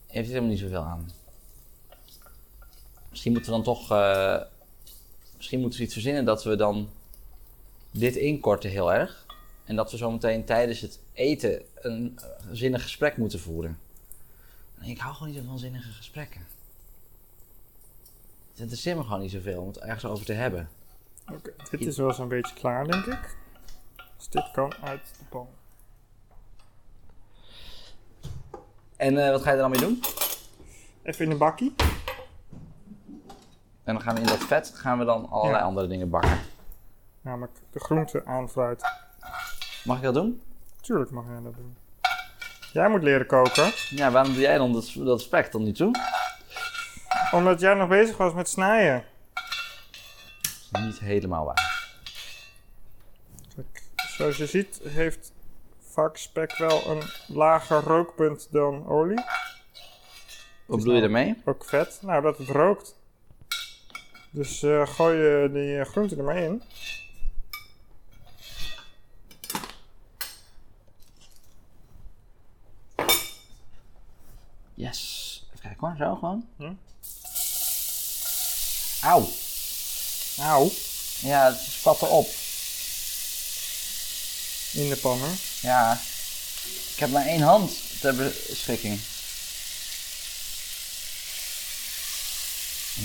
B: Je heeft er helemaal niet zoveel aan. Misschien moeten we dan toch... eh, misschien moeten we iets verzinnen dat we dan dit inkorten heel erg. En dat we zometeen tijdens het eten een eh, zinnig gesprek moeten voeren. Nee, ik hou gewoon niet zo van zinnige gesprekken. Het interesseert me gewoon niet zoveel om het ergens over te hebben.
A: Oké, dit is wel zo'n beetje klaar, denk ik. Dus dit kan uit de pan.
B: En eh, wat ga je er dan mee doen?
A: Even in een bakkie.
B: En dan gaan we in dat vet gaan we dan allerlei
A: Ja.
B: andere dingen bakken.
A: Namelijk de groente aan fruit.
B: Mag ik dat doen?
A: Tuurlijk mag jij dat doen. Jij moet leren koken.
B: Ja, waarom doe jij dan dat, dat spek dan niet toe?
A: Omdat jij nog bezig was met snijden.
B: Dat is niet helemaal waar.
A: Kijk, Zoals je ziet heeft vaak spek wel een lager rookpunt dan olie.
B: Wat bedoel je daarmee?
A: Ook vet. Nou, dat het rookt. Dus eh, gooi je die eh, groente er maar in.
B: Yes. Even kijken hoor, zo gewoon.
A: Hm?
B: Auw.
A: Nou,
B: Ja, het spat erop.
A: in de pan hè.
B: Ja. Ik heb maar één hand ter beschikking.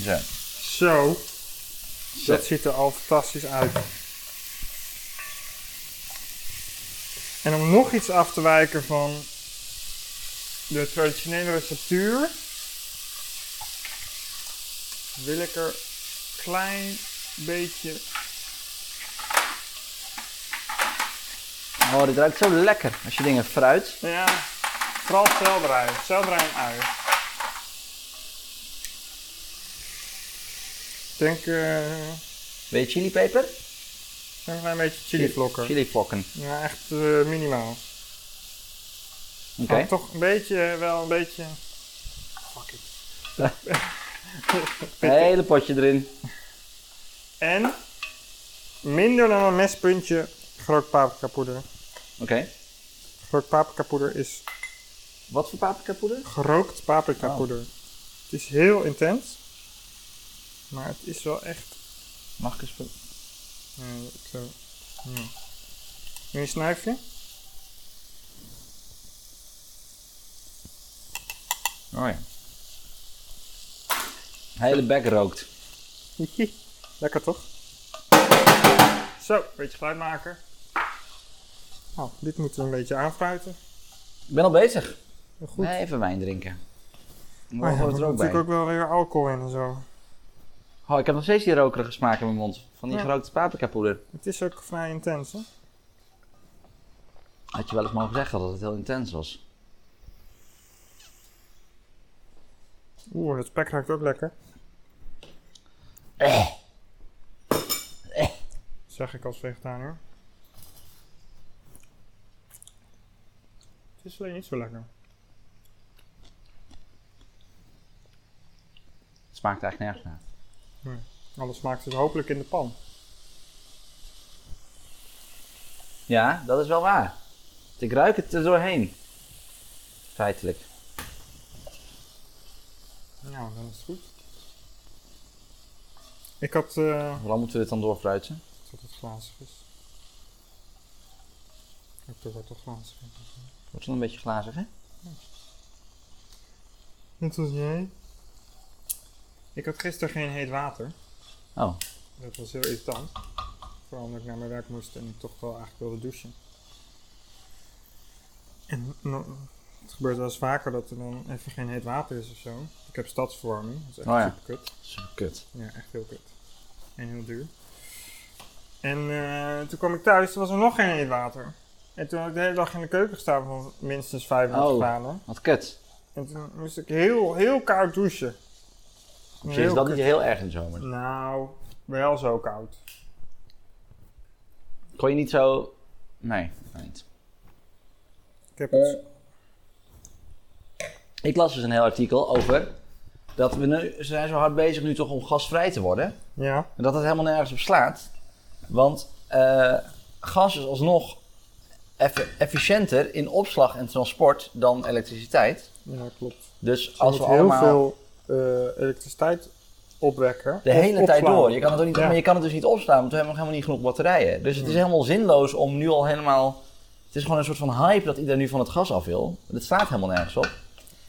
B: Zo.
A: Zo,
B: Zo.
A: dat ziet er al fantastisch uit. En om nog iets af te wijken van de traditionele receptuur, wil ik er een klein beetje.
B: Oh, dit ruikt zo lekker als je dingen fruit.
A: nou Ja, vooral selderij. Selderij en ui. Ik denk eh,
B: Weet je chilipeper?
A: een klein beetje chilivlokken.
B: Chilivlokken. Oké.
A: Ja, echt eh, minimaal. Maar toch een beetje, eh, wel een beetje. Fuck it.
B: Een hele potje erin.
A: En minder dan een mespuntje groot paprikapoeder.
B: Oké.
A: Groot paprikapoeder is
B: Wat voor paprikapoeder?
A: gerookt paprikapoeder. Het is heel intens, maar het is wel echt.
B: Mag ik eens... pro-
A: eh, zo. Hm. Wil je een snuifje?
B: Oh ja. Hele bek rookt.
A: Hihi. Lekker toch? Zo, een beetje geluid maken. Nou, dit moeten we een beetje aanfruiten.
B: Ik ben al bezig.
A: Goed.
B: Nee, even wijn drinken.
A: Maar
B: Maar
A: ja,
B: hoort
A: er
B: er ook bij.
A: natuurlijk ook wel weer alcohol in en zo.
B: Oh, ik heb nog steeds die rokerige smaak in mijn mond. Van die
A: Ja.
B: gerookte paprikapoeder.
A: Het is ook vrij intens, hè?
B: Had je wel eens mogen zeggen dat het heel intens was.
A: Oeh, dat spek ruikt ook lekker.
B: Eh.
A: zeg ik als vegetariër. Het is alleen niet zo lekker.
B: Het smaakt eigenlijk nergens naar.
A: Alles smaakt het hopelijk in de pan.
B: Ja, dat is wel waar. Ik ruik het er doorheen. Feitelijk.
A: Nou, dan is het goed. Ik had. eh,
B: Hoe lang moeten we dit dan doorfruiten?
A: Tot het glazig is. Ik doe wat toch glazig is.
B: Wordt wel een beetje glazig, hè?
A: Net als jij. Ik had gisteren geen heet water.
B: Oh,
A: Dat was heel irritant. Vooral omdat ik naar mijn werk moest en ik toch wel eigenlijk wilde douchen. En no- het gebeurt wel eens vaker dat er dan even geen heet water is of zo. Ik heb stadsverwarming, dat is echt
B: Oh ja.
A: super kut.
B: super kut.
A: Ja, echt heel kut. En heel duur. En eh, toen kwam ik thuis, toen was er nog geen heet water. En toen had ik de hele dag in de keuken gestaan van minstens 35
B: Oh.
A: graden.
B: Wat kut.
A: En toen moest ik heel, heel koud douchen.
B: Op zich is
A: Heel
B: dat niet heel erg in de zomer.
A: Nou, wel zo koud.
B: Kon je niet zo... Nee, dat kan niet.
A: Ik heb
B: Eh.
A: het
B: Ik las dus een heel artikel over... dat we nu, ze zijn zo hard bezig nu toch om gasvrij te worden.
A: Ja,
B: En dat het helemaal nergens op slaat. Want eh, gas is alsnog eff- efficiënter in opslag en transport dan elektriciteit.
A: ja klopt.
B: Dus
A: Als
B: als
A: je
B: we
A: moet heel
B: allemaal
A: veel eh, elektriciteit opwekken.
B: de
A: of
B: hele tijd
A: opslaan.
B: door, je kan het, ook niet,
A: Ja. Hmm.
B: maar je kan het dus niet opslaan, want we hebben nog helemaal niet genoeg batterijen. Dus het is
A: Ja.
B: helemaal zinloos om nu al helemaal... Het is gewoon een soort van hype dat iedereen nu van het gas af wil. Dat staat helemaal nergens op.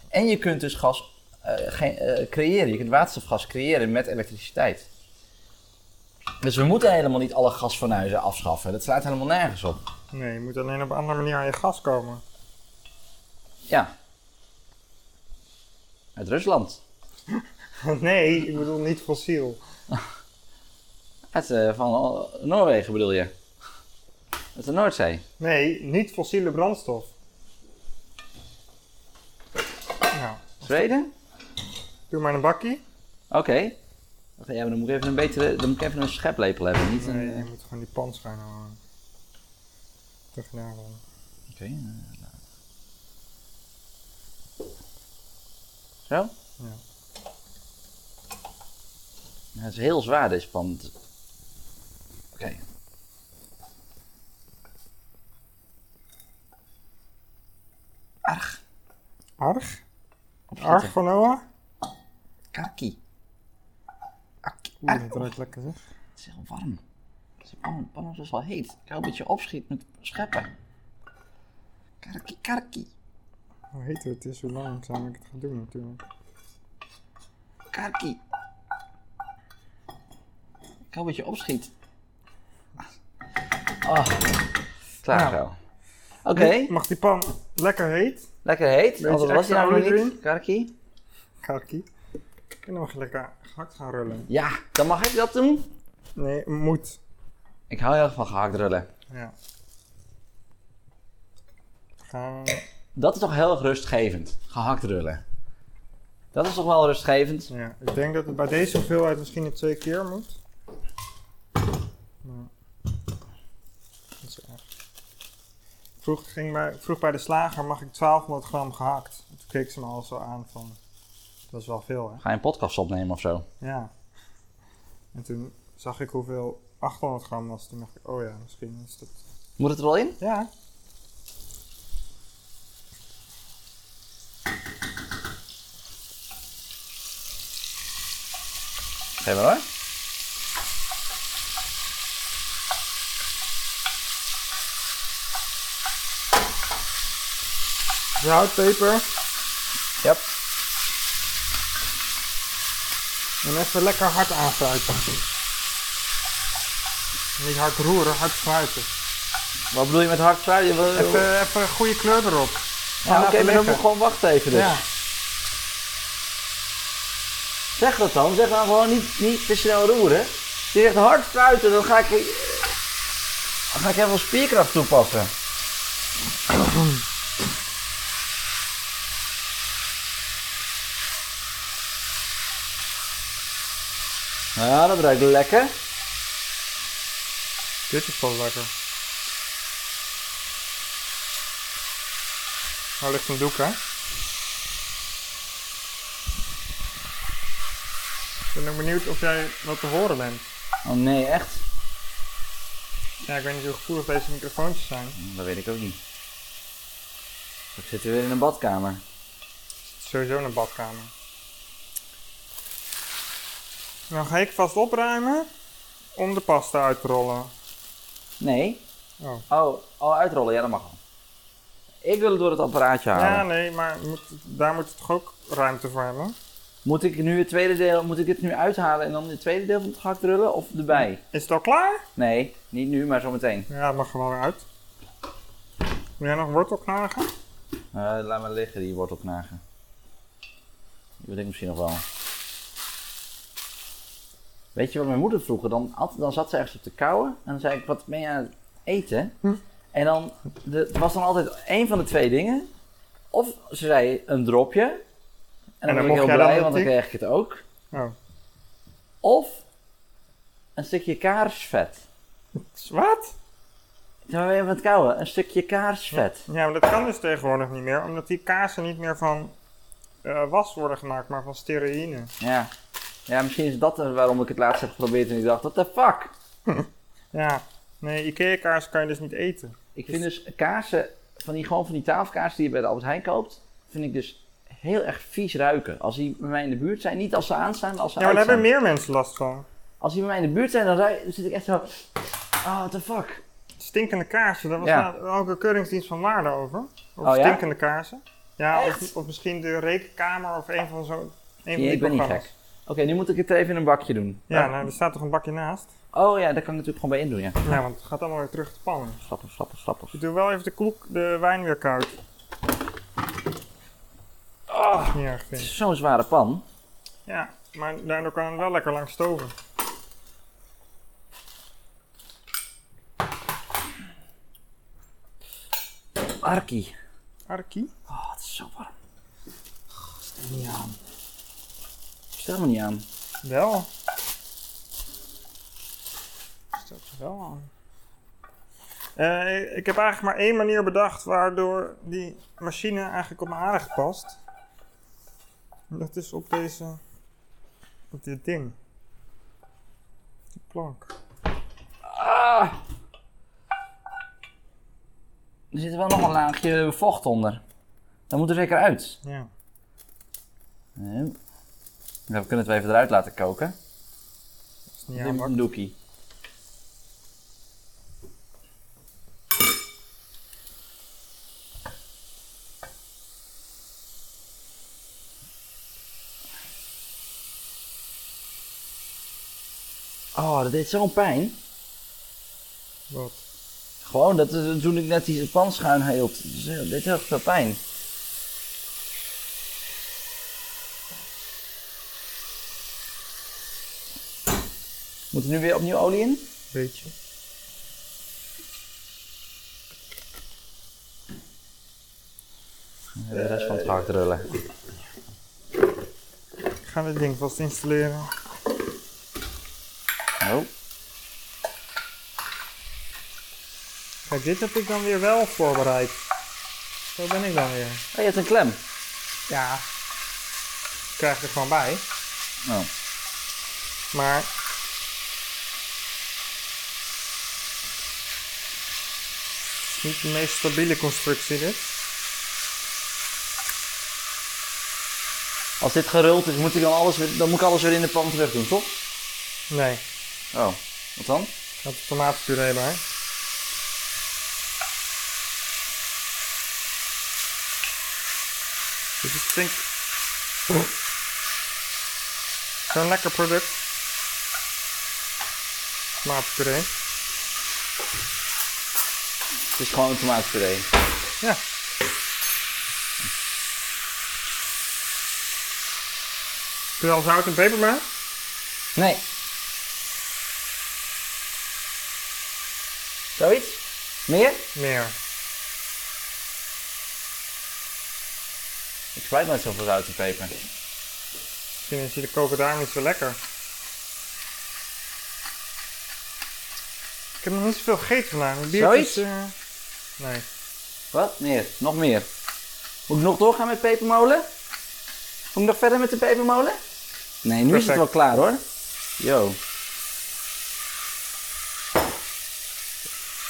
B: En je kunt dus gas eh, ge- eh, creëren, je kunt waterstofgas creëren met elektriciteit. Dus we moeten helemaal niet alle gasfornuizen afschaffen. Dat slaat helemaal nergens op.
A: Nee, je moet alleen op een andere manier aan je gas komen.
B: Ja. Uit Rusland.
A: nee, ik bedoel niet fossiel.
B: Uit eh, van eh, Noorwegen bedoel je? Uit de Noordzee.
A: Nee, niet fossiele brandstof. Nou,
B: Zweden?
A: doe maar een bakkie.
B: Oké. Wacht, Ja, maar dan moet ik even een betere, dan moet ik even een scheplepel hebben, niet een...
A: Nee, je
B: eh,
A: moet gewoon die pan schuin houden. Tegenaan dan.
B: Oké. eh, laat. Zo?
A: Ja.
B: Ja, het is heel zwaar deze pan. Oké.
A: Arg?
B: Opzetten.
A: Arg van Noah?
B: Kaki.
A: Oeh,
B: Ah.
A: dat ruikt lekker zeg.
B: Het is heel warm. De pan, pan is dus wel heet. Ik hou dat je opschiet met scheppen. Karki, karki.
A: Hoe heet het? Het is hoe langzaam ik het ga doen natuurlijk.
B: Karki. Ik hoop dat je opschiet. Ah. Oh. Klaar
A: Nou.
B: zo. Oké,
A: Mag die pan lekker heet?
B: lekker heet. Want dat was hij
A: extra
B: namelijk
A: olie
B: niet. Karki.
A: Karki. En dan mag je lekker gehakt gaan rullen.
B: Ja, dan mag ik dat doen.
A: Nee, moet.
B: Ik hou heel erg van gehakt rullen.
A: Ja. Gaan.
B: Dat is toch heel erg rustgevend. Gehakt rullen. Dat is toch wel rustgevend.
A: Ja, ik denk dat het bij deze hoeveelheid misschien niet twee keer moet. Maar... Dat is erg. Vroeg, ging bij, vroeg bij de slager, mag ik 1200 gram gehakt? Toen keek ze me al zo aan van, dat is wel veel hè?
B: Ga je een podcast opnemen of zo?
A: Ja. En toen zag ik hoeveel 800 gram was. Toen dacht ik, oh ja, misschien is dat...
B: Moet het er wel in?
A: Ja.
B: Geef maar hoor.
A: Zout, peper
B: Ja.
A: en even lekker hard aanfruiten. Niet hard roeren, hard fruiten.
B: Wat bedoel je met hard fruit? Je wil-
A: Even, even een goede kleur erop.
B: Ja, oké,
A: even
B: maar dan
A: lekker.
B: moet ik gewoon wachten even dus.
A: Ja.
B: Zeg dat dan. Zeg dan gewoon niet, niet te snel roeren. Je zegt hard fruiten, dan ga ik... Dan ga ik even spierkracht toepassen. Ja, dat ruikt lekker.
A: Het Dit is gewoon lekker. Nou ligt een doek, hè? Ik ben ook benieuwd of jij wat te horen bent.
B: Oh nee, echt?
A: Ja, ik weet niet hoe gevoelig deze microfoontjes zijn.
B: Dat weet ik ook niet. We zitten weer in een badkamer.
A: Het is sowieso in een badkamer. Dan ga ik vast opruimen om de pasta uit te rollen.
B: Nee.
A: Oh.
B: Oh, oh uitrollen, ja dat mag al. Ik wil het door het apparaatje halen.
A: Ja, nee, maar moet, daar moet het toch ook ruimte voor hebben?
B: Moet ik nu het tweede deel, moet ik dit nu uithalen en dan het tweede deel van het gehakt rullen of erbij?
A: Is het al klaar?
B: Nee, niet nu, maar zometeen.
A: Ja, het mag gewoon uit. Wil jij nog wortel knagen?
B: Eh laat maar liggen, die wortelknagen. Die wil ik misschien nog wel. Weet je wat mijn moeder vroeger? Dan, at- dan zat ze ergens op te kauwen en dan zei ik, wat ben je aan het eten?
A: Hm.
B: En dan, de, het was dan altijd één van de twee dingen. Of ze zei een dropje. En
A: dan
B: dan,
A: mocht
B: was ik
A: jij dan
B: heel blij, want dan
A: natuurlijk-
B: kreeg ik het ook.
A: Oh.
B: Of een stukje kaarsvet.
A: Wat?
B: Terwijl we even aan het kauwen, een stukje kaarsvet.
A: Ja, maar dat kan dus tegenwoordig niet meer, omdat die kazen niet meer van eh, was worden gemaakt, maar van steroïne.
B: Ja. Ja, misschien is dat waarom ik het laatst heb geprobeerd en ik dacht, what the fuck?
A: Ja, nee, Ikea-kaas kan je dus niet eten.
B: Ik vind dus kaarsen, van die, gewoon van die tafelkaarsen die je bij de Albert Heijn koopt, vind ik dus heel erg vies ruiken. Als die bij mij in de buurt zijn, niet als ze aanstaan, maar als ze
A: Ja, maar daar
B: uit
A: hebben
B: zijn.
A: meer mensen last van.
B: Als die bij mij in de buurt zijn, dan, ruik- dan zit ik echt zo, ah, what the fuck?
A: Stinkende kaarsen, daar was
B: Ja.
A: nou ook een keuringsdienst van waarde over. Over
B: Oh ja?
A: stinkende kaarsen. Ja, of,
B: Echt?
A: of misschien de rekenkamer of een van zo'n... een van
B: Nee,
A: die
B: ik ben niet
A: programma's.
B: gek. Oké, nu moet ik het even in een bakje doen.
A: Ja, nou, er staat toch een bakje naast?
B: Oh ja, daar kan ik natuurlijk gewoon bij in doen, ja.
A: Ja, want het gaat allemaal weer terug te pannen.
B: Grappig, grappig, grappig.
A: Ik doe wel even de koek, de wijn weer koud.
B: Ah,
A: Niet erg
B: het
A: vind.
B: is zo'n zware pan.
A: Ja, maar daardoor kan het wel lekker lang stoven.
B: Arkie.
A: Arkie?
B: Oh, het is zo warm. Niet aan. Stel me niet aan.
A: Wel. Stelt je wel aan. Eh, ik heb eigenlijk maar één manier bedacht waardoor die machine eigenlijk op mijn aardig past. En Dat is op deze. op dit ding. Die plank.
B: Ah. Er zit wel nog een laagje vocht onder. Dat moet er zeker uit.
A: Ja.
B: Nee. Ja, we kunnen het wel even eruit laten koken.
A: Dat is niet
B: Neem
A: aanbak.
B: een doekie. Oh, dat deed zo'n pijn.
A: Wat?
B: Gewoon, dat is toen ik net die pan schuin hield. Dus, eh, dit is echt veel pijn. Moet er nu weer opnieuw olie in?
A: Beetje.
B: De rest van het gehakt rullen.
A: Ik ga dit ding vast installeren.
B: Oh.
A: Kijk, dit heb ik dan weer wel voorbereid. Zo ben ik dan weer.
B: oh, je hebt een klem.
A: Ja. Krijg er gewoon bij.
B: Oh.
A: Maar. Niet de meest stabiele constructie, dit.
B: Als dit geruld is, moet ik dan, alles weer, dan moet ik alles weer in de pan terug doen, toch?
A: Nee,
B: Oh, wat dan?
A: ik had de tomatenpuree bij. Dus ik denk. Zo'n lekker product. Tomatenpuree.
B: Het is gewoon een tomaatpuree.
A: Ja. Kun je al zout en peper bij?
B: Nee. Zoiets? Meer?
A: Meer.
B: Ik spijt met zoveel zout en peper.
A: Misschien is je de koken daarom niet zo lekker. Ik heb nog niet zoveel gegeten vandaag. Mijn bier
B: Zoiets?
A: is, eh, nee.
B: Wat? Meer? Nog meer? Moet ik nog doorgaan met pepermolen? Moet ik nog verder met de pepermolen? Nee, nu is
A: Perfect.
B: het wel klaar hoor. Yo.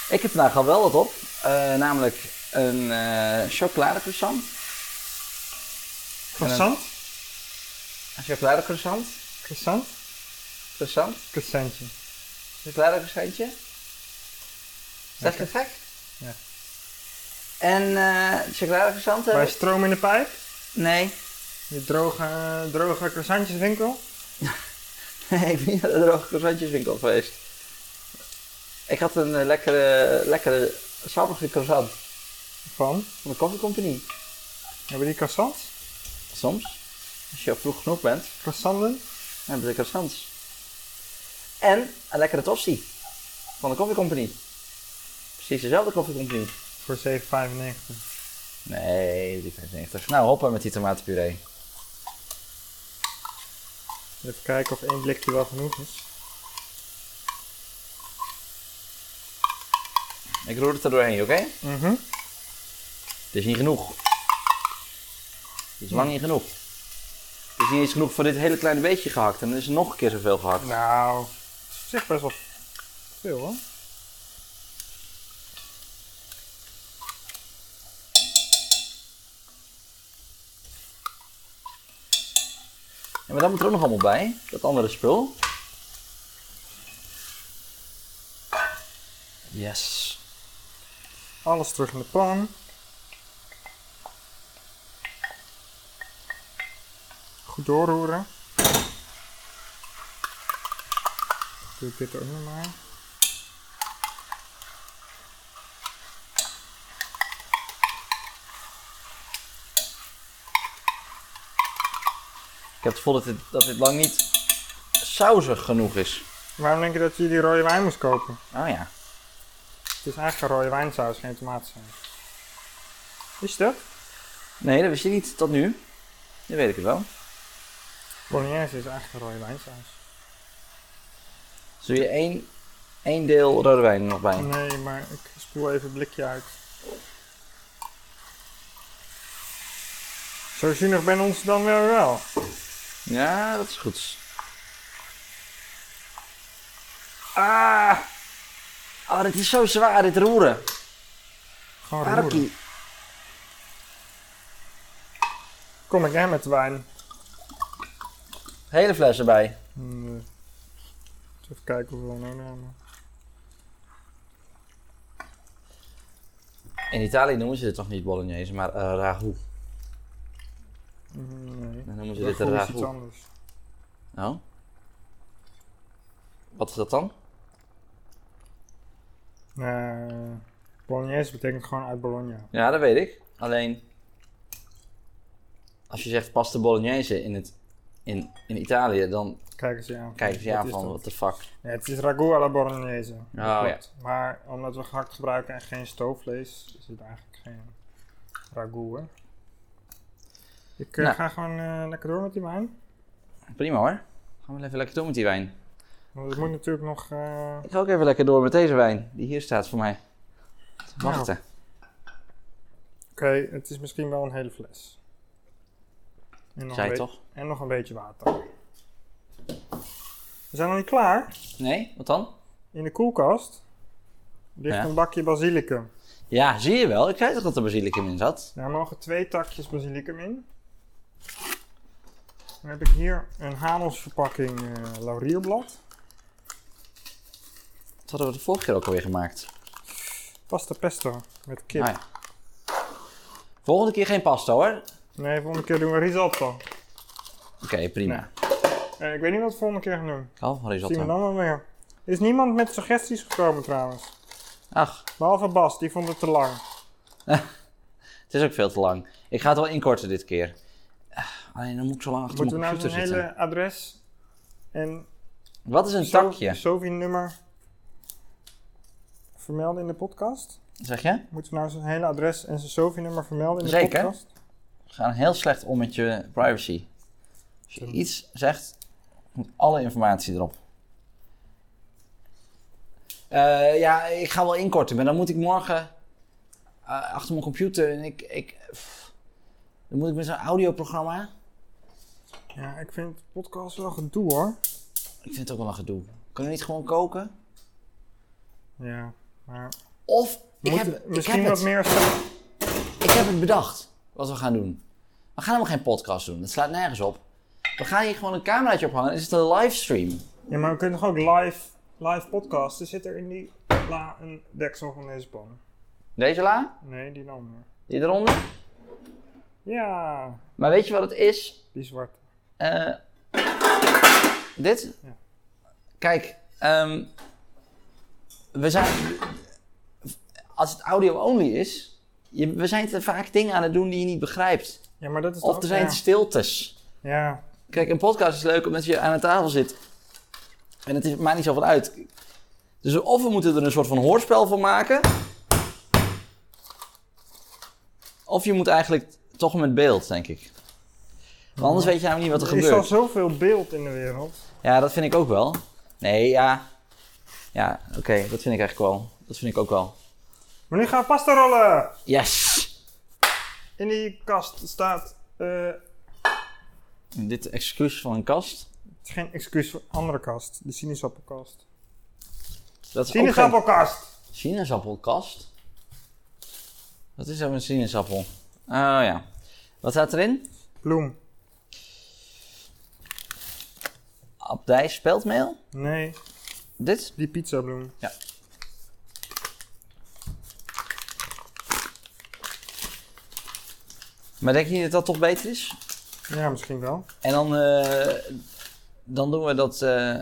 B: Ik heb vandaag al wel wat op. Eh, namelijk een eh chocoladecroissant.
A: Croissant?
B: Een chocoladecroissant.
A: Croissant?
B: Croissant.
A: Croissantje.
B: Chocoladecroissantje. Is dat te gek?
A: Ja.
B: En eh chocoladecroissant
A: Bij
B: hebben...
A: stroom in de pijp?
B: Nee.
A: Je droge, droge croissantjeswinkel?
B: Nee, ik ben niet naar de droge croissantjeswinkel geweest. Ik had een eh, lekkere, lekkere sappige croissant
A: Van?
B: van de Coffee Company.
A: Hebben die croissants?
B: Soms, als je al vroeg genoeg bent,
A: Croissanten?
B: dan hebben ze croissants. En een lekkere tosti van de Coffee Company. Precies dezelfde Coffee Company.
A: Voor 7,95.
B: Nee, die 95. Nou, hoppa met die tomatenpuree.
A: Even kijken of één blikje wel genoeg is.
B: Ik roer het er doorheen, oké?
A: Mhm.
B: Het is niet genoeg. Het is lang niet genoeg. Het is niet eens genoeg voor dit hele kleine beetje gehakt. En dan is er nog een keer zoveel gehakt.
A: Nou, het is op zich best wel veel hoor.
B: Ja, maar dat moet er ook nog allemaal bij. Dat andere spul. Yes.
A: Alles terug in de pan. Goed doorroeren. Doe ik dit ook nog maar.
B: Ik heb het gevoel dat dit, dat dit lang niet sausig genoeg is.
A: Waarom denk je dat je die rode wijn moest kopen?
B: Oh ja.
A: Het is eigenlijk een rode wijnsaus, geen tomatensaus. Is dat?
B: Nee, dat wist je niet tot nu. Nu weet ik het wel.
A: Bolognese is eigenlijk een rode wijnsaus.
B: Zul je één, één deel rode wijn er nog bij?
A: Nee, maar ik spoel even het blikje uit. Zo zuinig ben ons dan wel wel.
B: Ja, dat is goed.
A: Ah!
B: Oh, dit is zo zwaar, dit roeren.
A: Gewoon roeren.
B: Arkie.
A: Kom ik jij met de wijn?
B: Hele fles erbij.
A: Nee. Even kijken hoeveel we meenemen.
B: In Italië noemen ze dit toch niet bolognese, maar eh ragu.
A: Nee.
B: Dan noemen ze dit
A: Dat
B: een
A: is iets
B: ragu.
A: anders.
B: Nou. Wat is dat dan?
A: Eh, Bolognese betekent gewoon uit Bologna.
B: Ja, dat weet ik. Alleen, als je zegt pasta bolognese in, het, in, in Italië, dan
A: Kijk eens aan.
B: kijken ze je aan
A: is
B: van,
A: dat?
B: what the fuck.
A: Nee, het is ragu alla Bolognese.
B: Oh, ja.
A: Maar omdat we gehakt gebruiken en geen stoofvlees, is het eigenlijk geen ragu, hè? Ik eh,
B: Nou.
A: ga gewoon eh, lekker door met die wijn.
B: Prima hoor. Gaan we even lekker door met die wijn.
A: Want het moet natuurlijk nog... eh,
B: Ik ga ook even lekker door met deze wijn, die hier staat voor mij. Te
A: Nou,
B: Wachten.
A: Oké, het is misschien wel een hele fles. En nog,
B: Zij
A: een be-
B: toch?
A: en nog een beetje water. We zijn nog niet klaar.
B: Nee, wat dan?
A: In de koelkast ligt
B: Ja.
A: een bakje basilicum.
B: Ja, zie je wel. Ik zei toch dat er basilicum in zat?
A: Daar mogen twee takjes basilicum in. Dan heb ik hier een Hanelsverpakking eh, laurierblad.
B: Dat hadden we de vorige keer ook alweer gemaakt.
A: Pasta pesto met kip.
B: Ah, ja. Volgende keer geen pasta hoor.
A: Nee, volgende keer doen we risotto.
B: Oké, prima.
A: Eh, ik weet niet wat we volgende keer gaan doen.
B: Ik hou van
A: Zien we
B: risotto.
A: dan wel weer. Er is niemand met suggesties gekomen trouwens.
B: Ach,
A: Behalve Bas, die vond het te lang.
B: Het is ook veel te lang. Ik ga het wel inkorten dit keer. Ah, Alleen dan moet ik zo lang achter
A: Moeten we
B: mijn
A: nou zijn
B: computer zitten.
A: hele adres en
B: Wat is een
A: zo-
B: takje?
A: SOVI-nummer vermelden in de podcast?
B: Zeg je?
A: Moeten we nou zijn hele adres en zijn SOVI-nummer vermelden in de
B: Zeker.
A: podcast?
B: We gaan heel slecht om met je privacy. Als je iets zegt, moet alle informatie erop. Eh, ja, ik ga wel inkorten, maar dan moet ik morgen eh, achter mijn computer en ik. ik pff, dan moet ik met zo'n audioprogramma.
A: Ja, ik vind podcast wel gedoe hoor.
B: Ik vind het ook wel een gedoe. Kunnen we niet gewoon koken?
A: Ja, maar...
B: Of ik
A: Moet-
B: heb, ik,
A: misschien
B: heb
A: wat
B: het,
A: meer... stel-
B: ik heb het bedacht wat we gaan doen. We gaan helemaal geen podcast doen. Dat slaat nergens op. We gaan hier gewoon een cameraatje ophangen. en Is het een livestream?
A: Ja, maar we kunnen toch ook live, live podcasten? Zit er in die la een deksel van deze pan?
B: Deze la?
A: Nee, die andere.
B: Die eronder?
A: Ja,
B: Maar weet je wat het is?
A: die zwarte.
B: Eh, dit?
A: Ja.
B: Kijk, ehm, we zijn. Als het audio-only is, je- we zijn te vaak dingen aan het doen die je niet begrijpt.
A: Ja, maar dat is
B: Of
A: toch-
B: er zijn
A: ja.
B: stiltes.
A: Ja,
B: Kijk, een podcast is leuk omdat je aan een tafel zit. En het is, maakt niet zoveel uit. Dus of we moeten er een soort van hoorspel van maken. Of je moet eigenlijk toch met beeld, denk ik. Want anders weet je namelijk niet wat er
A: er is al
B: gebeurt.
A: zoveel beeld in de wereld.
B: Ja, dat vind ik ook wel. Nee, ja. Ja, oké, dat vind ik eigenlijk wel. Dat vind ik ook wel.
A: Maar nu gaan we pasta rollen!
B: Yes!
A: In die kast staat... eh,
B: Dit excuus van een kast.
A: het is geen excuus voor andere kast. De sinaasappelkast.
B: Dat is Ook
A: Sinaasappelkast!
B: geen... Sinaasappelkast? Wat is dat met een sinaasappel? Oh ja. Wat staat erin?
A: Bloem.
B: Abdij speldmeel?
A: Nee,
B: Dit?
A: die pizzabloem.
B: Maar denk je niet dat dat toch beter is?
A: Ja, misschien wel.
B: En dan, eh, dan doen we dat. eh,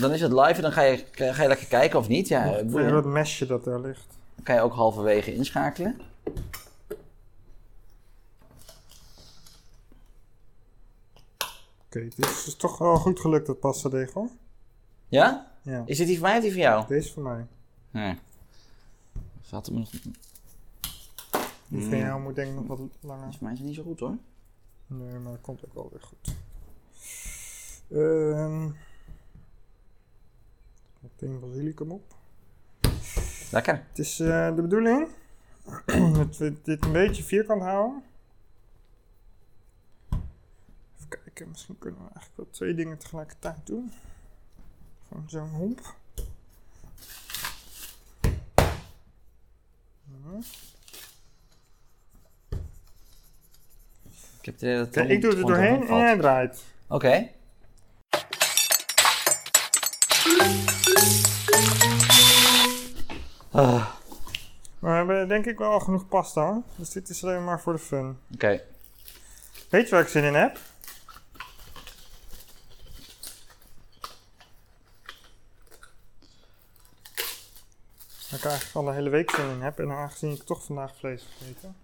B: dan is het live en dan ga je, ga je lekker kijken of niet. Ja, ik
A: Ik
B: bedoel-
A: vind dat mesje dat daar ligt.
B: kan je ook halverwege inschakelen.
A: Oké, dit is dus toch wel goed gelukt dat pasta deeg hoor.
B: Ja?
A: Ja,
B: Is dit die van mij of die van jou?
A: deze voor mij.
B: Nee. Valt het me nog... Die
A: Die van jou moet denk ik nog wat langer.
B: van mij is niet zo goed hoor.
A: Nee, maar dat komt ook wel weer goed. Ehm meteen basilicum op.
B: Lekker.
A: Het is eh, de bedoeling dat we dit een beetje vierkant houden. Even kijken, misschien kunnen we eigenlijk wel twee dingen tegelijkertijd doen. Gewoon zo'n homp. Ja.
B: Ik heb het idee dat het
A: Oké,
B: allemaal
A: ik doe het er
B: gewoon
A: doorheen en
B: doorheen
A: jij
B: valt.
A: draait.
B: Oké. Ah,
A: Maar we hebben denk ik wel al genoeg pasta hoor. Dus dit is alleen maar voor de fun.
B: Oké.
A: Weet je waar ik zin in heb? Waar ik eigenlijk al de hele week zin in heb. En aangezien ik toch vandaag vlees heb gegeten.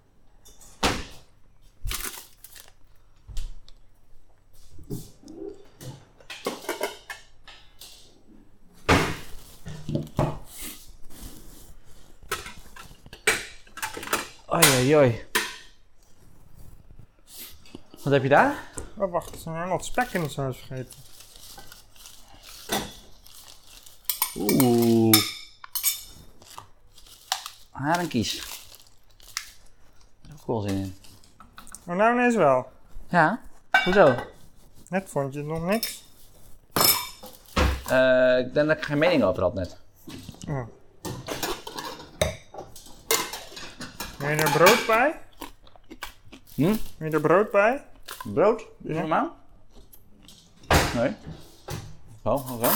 B: Oei, oei, oei. Wat heb je daar?
A: Oh wacht, er zijn helemaal wat spek in de saus vergeten.
B: Oeh. Harenkies. Daar heb ik wel zin in.
A: Maar nou ineens wel.
B: Ja? Hoezo?
A: Net vond je het nog niks.
B: Eh, ik denk dat ik er geen mening over had net.
A: Oh. Wil je er brood bij?
B: Hm?
A: Wil je er brood bij?
B: Brood? Is
A: Ja.
B: normaal? Nee. Oh, oké.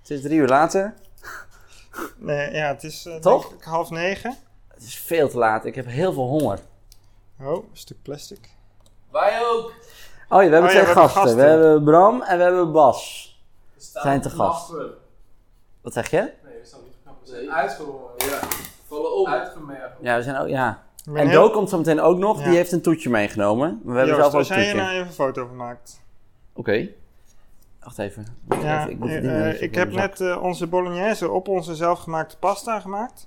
B: Het is drie uur later.
A: Nee, ja, het is eh,
B: Toch?
A: denk ik half negen.
B: Het is veel te laat. Ik heb heel veel honger.
A: Oh, een stuk plastic.
C: Wij ook.
B: Oh ja, we hebben
A: Oh ja,
B: twee
A: we hebben
B: gasten.
A: gasten.
B: We hebben Bram en we hebben Bas.
C: We staan
B: Zijn te
C: op de
B: gast.
C: knappen.
B: Wat zeg je?
C: Nee, we staan niet op de knappen. We zijn uitgehoord. Ja. Vallen om. Uitgemergeld.
B: Ja, we zijn ook, ja.
A: Ik ben
B: En
A: heel-
B: Do komt zo meteen ook nog.
A: Ja.
B: Die heeft een toetje meegenomen. Maar we hebben
A: Joost,
B: zelf ook een
A: daar zijn
B: toetje.
A: je nou even een foto van gemaakt.
B: Oké. Wacht even. Wacht
A: Ja,
B: even,
A: ik,
B: moet het ding even
A: ik
B: op
A: heb
B: mijn zak.
A: net eh, onze bolognese op onze zelfgemaakte pasta gemaakt.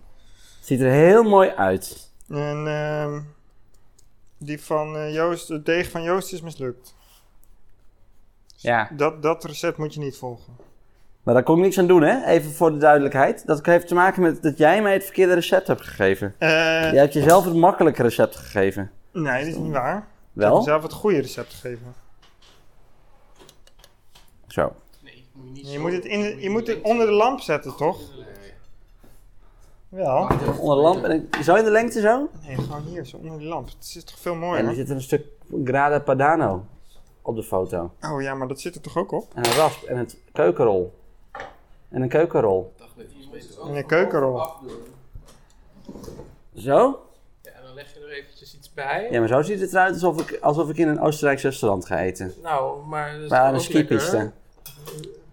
B: Ziet er heel mooi uit.
A: En ehm, die van eh, Joost, het deeg van Joost is mislukt.
B: Ja.
A: Dat, dat recept moet je niet volgen.
B: Maar daar kon ik niks aan doen, hè? Even voor de duidelijkheid. Dat heeft te maken met dat jij mij het verkeerde recept hebt gegeven.
A: Eh,
B: Jij hebt jezelf het makkelijke recept gegeven.
A: Nee, dat is niet waar. Ik heb
B: Wel?
A: mezelf het goede recept gegeven.
B: Zo.
C: Nee, moet je niet
A: Je moet het, in, je moet het onder de lamp zetten, toch? Wel.
B: Onder de lamp. En ik- zo in de lengte zo?
A: Nee, gewoon hier, zo onder de lamp. Het zit toch veel
B: En er
A: mooier?
B: zit een stuk grada padano op de foto.
A: Oh ja, maar dat zit er toch ook op?
B: En een rasp en een keukenrol. En een keukenrol.
A: In de keukenrol.
B: Zo?
C: Ja, en dan leg je er eventjes iets bij.
B: Ja, maar zo ziet het eruit alsof ik, alsof ik in een Oostenrijks restaurant ga eten.
C: Nou, maar dat is
B: Maar aan een
C: ook lekker.
B: skipiste.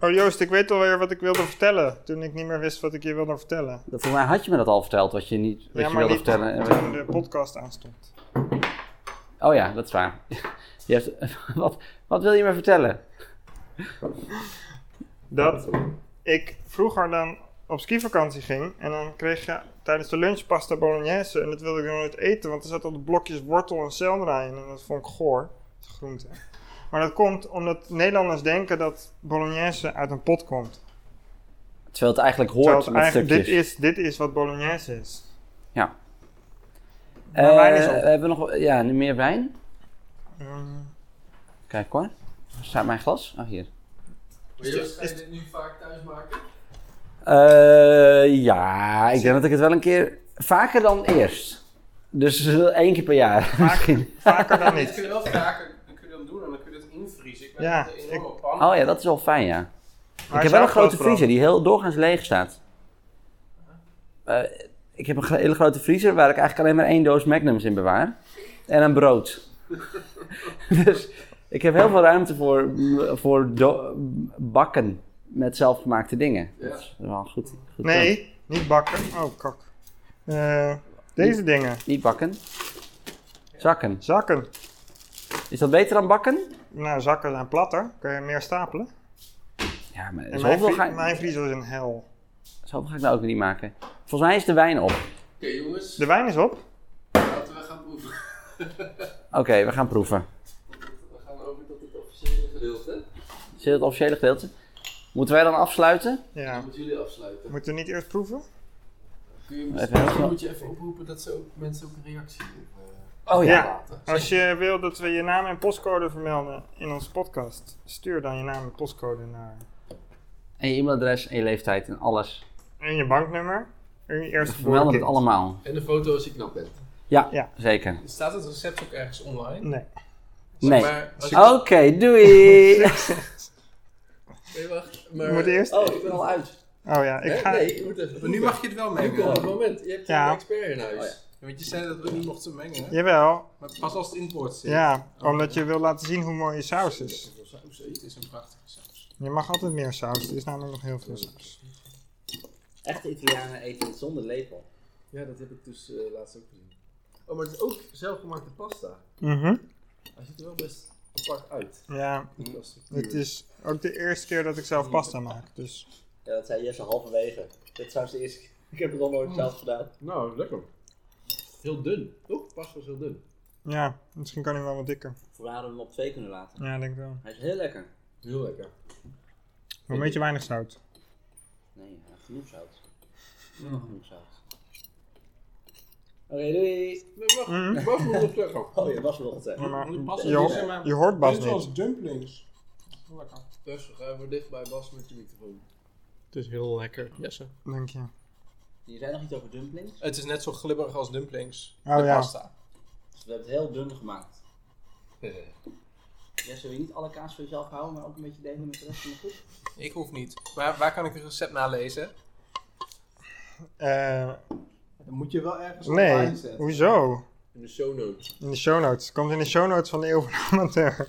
A: Oh Joost, ik weet alweer wat ik wilde vertellen. Toen ik niet meer wist wat ik je wilde vertellen.
B: Volgens mij had je me dat al verteld, wat je, niet, wat
A: ja,
B: je
A: maar
B: wilde
A: niet
B: vertellen. En
A: toen de podcast aanstond.
B: Oh ja, dat is waar. Je hebt, wat, wat wil je me vertellen?
A: Dat ik vroeger dan op skivakantie ging en dan kreeg je tijdens de lunch pasta bolognese en dat wilde ik nog nooit eten, want er zaten al de blokjes wortel en selderij in en dat vond ik goor, de groente. Maar dat komt omdat Nederlanders denken dat bolognese uit een pot komt.
B: Terwijl het eigenlijk hoort
A: Terwijl het
B: met
A: eigenlijk-
B: stukjes.
A: dit is, dit is wat bolognese is.
B: Ja.
A: Maar
B: Eh,
A: wijn is op.
B: we hebben nog, ja, nu meer wijn.
A: Mm,
B: Kijk hoor. Waar staat mijn glas? Oh, hier.
C: Maar Joost, ga je dit nu vaak thuis maken?
B: Eh, ja, ik denk dat ik het wel een keer vaker dan eerst. Dus eh, één keer per jaar misschien.
A: vaker dan
C: Dit
A: niet.
C: kun je wel vaker dan kun je dat doen en dan kun je dat invriezen. Ik ben
A: Ja,
C: met een enorme pan.
B: Oh ja, dat is wel fijn ja.
A: Maar
B: ik heb
A: zou
B: wel een grote
A: vooral-
B: vriezer die heel doorgaans leeg staat. Eh, ik heb een gro- hele grote vriezer waar ik eigenlijk alleen maar één doos Magnums in bewaar. En een brood. dus ik heb heel veel ruimte voor, voor do- bakken met zelfgemaakte dingen.
C: Ja.
B: Dat is wel goed. goed punt.
A: Nee, niet bakken. Oh, kak. Eh, deze dingen.
B: Niet bakken. Zakken.
A: Zakken.
B: Is dat beter dan bakken?
A: Nou, zakken zijn platter. Kun je meer stapelen.
B: Ja, maar
A: En mijn,
B: zoveel
A: vrie-
B: ga, ik,
A: mijn vriezer is een hel.
B: zoveel ga ik nou ook weer niet maken. Volgens mij is de wijn op.
C: Oké jongens,
A: De wijn is op.
C: laten we gaan proeven.
B: Oké, we gaan proeven.
C: We gaan over tot het officiële gedeelte.
B: Zit het officiële gedeelte? Moeten wij dan afsluiten?
A: Ja.
C: Dan moeten jullie afsluiten.
A: Moeten we niet eerst proeven?
C: Kun je
B: Even heel snel.
C: misschien moet je even oproepen dat ze ook, mensen ook een reactie op, eh,
B: Oh ja.
A: Ja.
C: laten.
A: Als je wil dat we je naam en postcode vermelden in onze podcast, stuur dan je naam en postcode naar.
B: En je e-mailadres en je leeftijd en alles.
A: En je banknummer. En je eerste
B: Vermelden het
A: geboren
B: allemaal.
C: En de foto als je knap bent.
B: Zeker.
C: Staat het recept ook ergens online?
A: kind. Nee.
C: Zeg
B: Nee. Oh,
C: Maar, als je-
B: Oké, doei!
C: Nee, wacht.
A: Je
C: Maar...
A: moet eerst.
B: Oh, ik ben al uit.
A: Oh ja, ik
C: Hè?
A: ga.
C: Nee, je moet even
D: Maar nu mag je het wel
C: Nu komt het
D: meenemen.
C: moment. Je hebt
A: Ja.
C: een expert in huis.
B: Oh
D: Want je zei dat we niet mochten mengen. hè?
A: Jawel,
D: Maar pas als het in het bord zit.
A: ja, omdat je wil laten zien hoe mooi je saus is.
D: Zoveel saus, hè? Het is een prachtige saus.
A: Je mag altijd meer saus, er is namelijk nog heel veel saus.
B: Echte Italianen eten het zonder lepel.
D: Ja, dat heb ik dus eh, laatst ook gezien. Oh, maar het is ook zelfgemaakte pasta.
A: Mhm.
D: Hij ziet er wel best apart uit.
A: Ja,
D: Qua structuur.
A: het is ook de eerste keer dat ik zelf pasta maak, dus
E: Ja, dat zei Jesse halverwege. Dit is de eerste Ik heb het al nooit zelf gedaan.
D: Nou, lekker.
C: Heel dun.
D: Oeh, pasta is heel dun.
A: ja, misschien kan hij wel wat dikker.
B: Voor hadden we hem op twee kunnen laten.
A: Ja, ik denk wel.
B: Hij is heel lekker.
D: Heel lekker.
A: Maar een beetje weinig zout.
B: Nee, hij heeft genoeg zout. Genoeg zout. Oké, doei!
D: Nee, wacht.
A: Mhm.
D: Bas moet nog zeggen.
E: Oh ja, dat was wel gezegd.
A: Ja, maar
D: Die pasta
A: je,
D: is in mijn-
A: ho- je hoort Bas
D: Dit is
A: niet.
D: als dumplings. Lekker.
C: Dus we gaan voor dicht bij Bas met je microfoon.
D: Het is heel lekker. Jesse.
A: Denk je.
E: Je zei nog iets over dumplings.
D: Het is net zo glibberig als dumplings.
A: Oh
D: met
A: ja.
D: pasta.
E: Dus we hebben het heel dun gemaakt. Jesse, wil je niet alle kaas voor jezelf houden, maar ook een beetje delen met de rest van de groep?
D: Ik hoef niet. Maar waar kan ik een recept nalezen?
A: Eh,
D: Dan moet je wel ergens
A: nee, hoezo?
C: In de show notes.
A: In de show notes. Komt in de show notes van de Eeuw van de Amateur.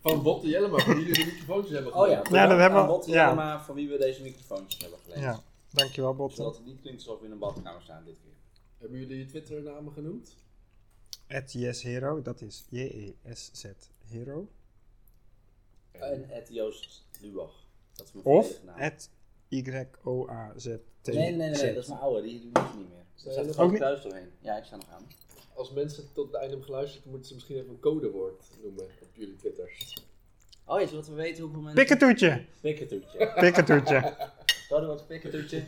C: Van Bob de Jellema, voor jullie de microfoontjes hebben
E: Oh ja,
A: Ja, dat hebben we-
E: we.
A: ja.
E: Maar van wie we deze microfoontjes hebben geleend.
A: Ja, dankjewel Botte.
E: Zodat het niet klinkt alsof we in een badkamer staan dit keer.
C: Hebben jullie je Twitter-namen genoemd?
A: At Yes Hero, dat is J-E-S-Z Hero.
E: Oh, En at Joost Lubach. Dat is mijn
A: Of
E: volledige naam.
A: at Y-O-A-Z-T.
E: nou. Nee, nee, nee, nee, dat is mijn oude, die doe ik niet meer. Dus daar
C: Zijn
E: staat
C: er
E: gewoon
A: ook
E: kruis doorheen. Ja, ik sta nog aan.
C: Als mensen tot het einde hebben geluisterd, moeten ze misschien even een codewoord noemen op jullie Twitters.
B: Oh ja, zodat we weten hoeveel mensen...
A: Pikketoetje.
B: Pikketoetje.
A: Pikketoetje.
B: Dat wordt een pikketoetje.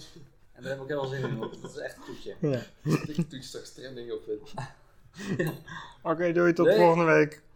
B: En daar heb ik heel veel zin in, hoor. Dat is echt een toetje.
A: Ja.
C: Ik toets straks trending op. eh,
A: Oké, doei. Tot
B: Nee.
A: volgende week.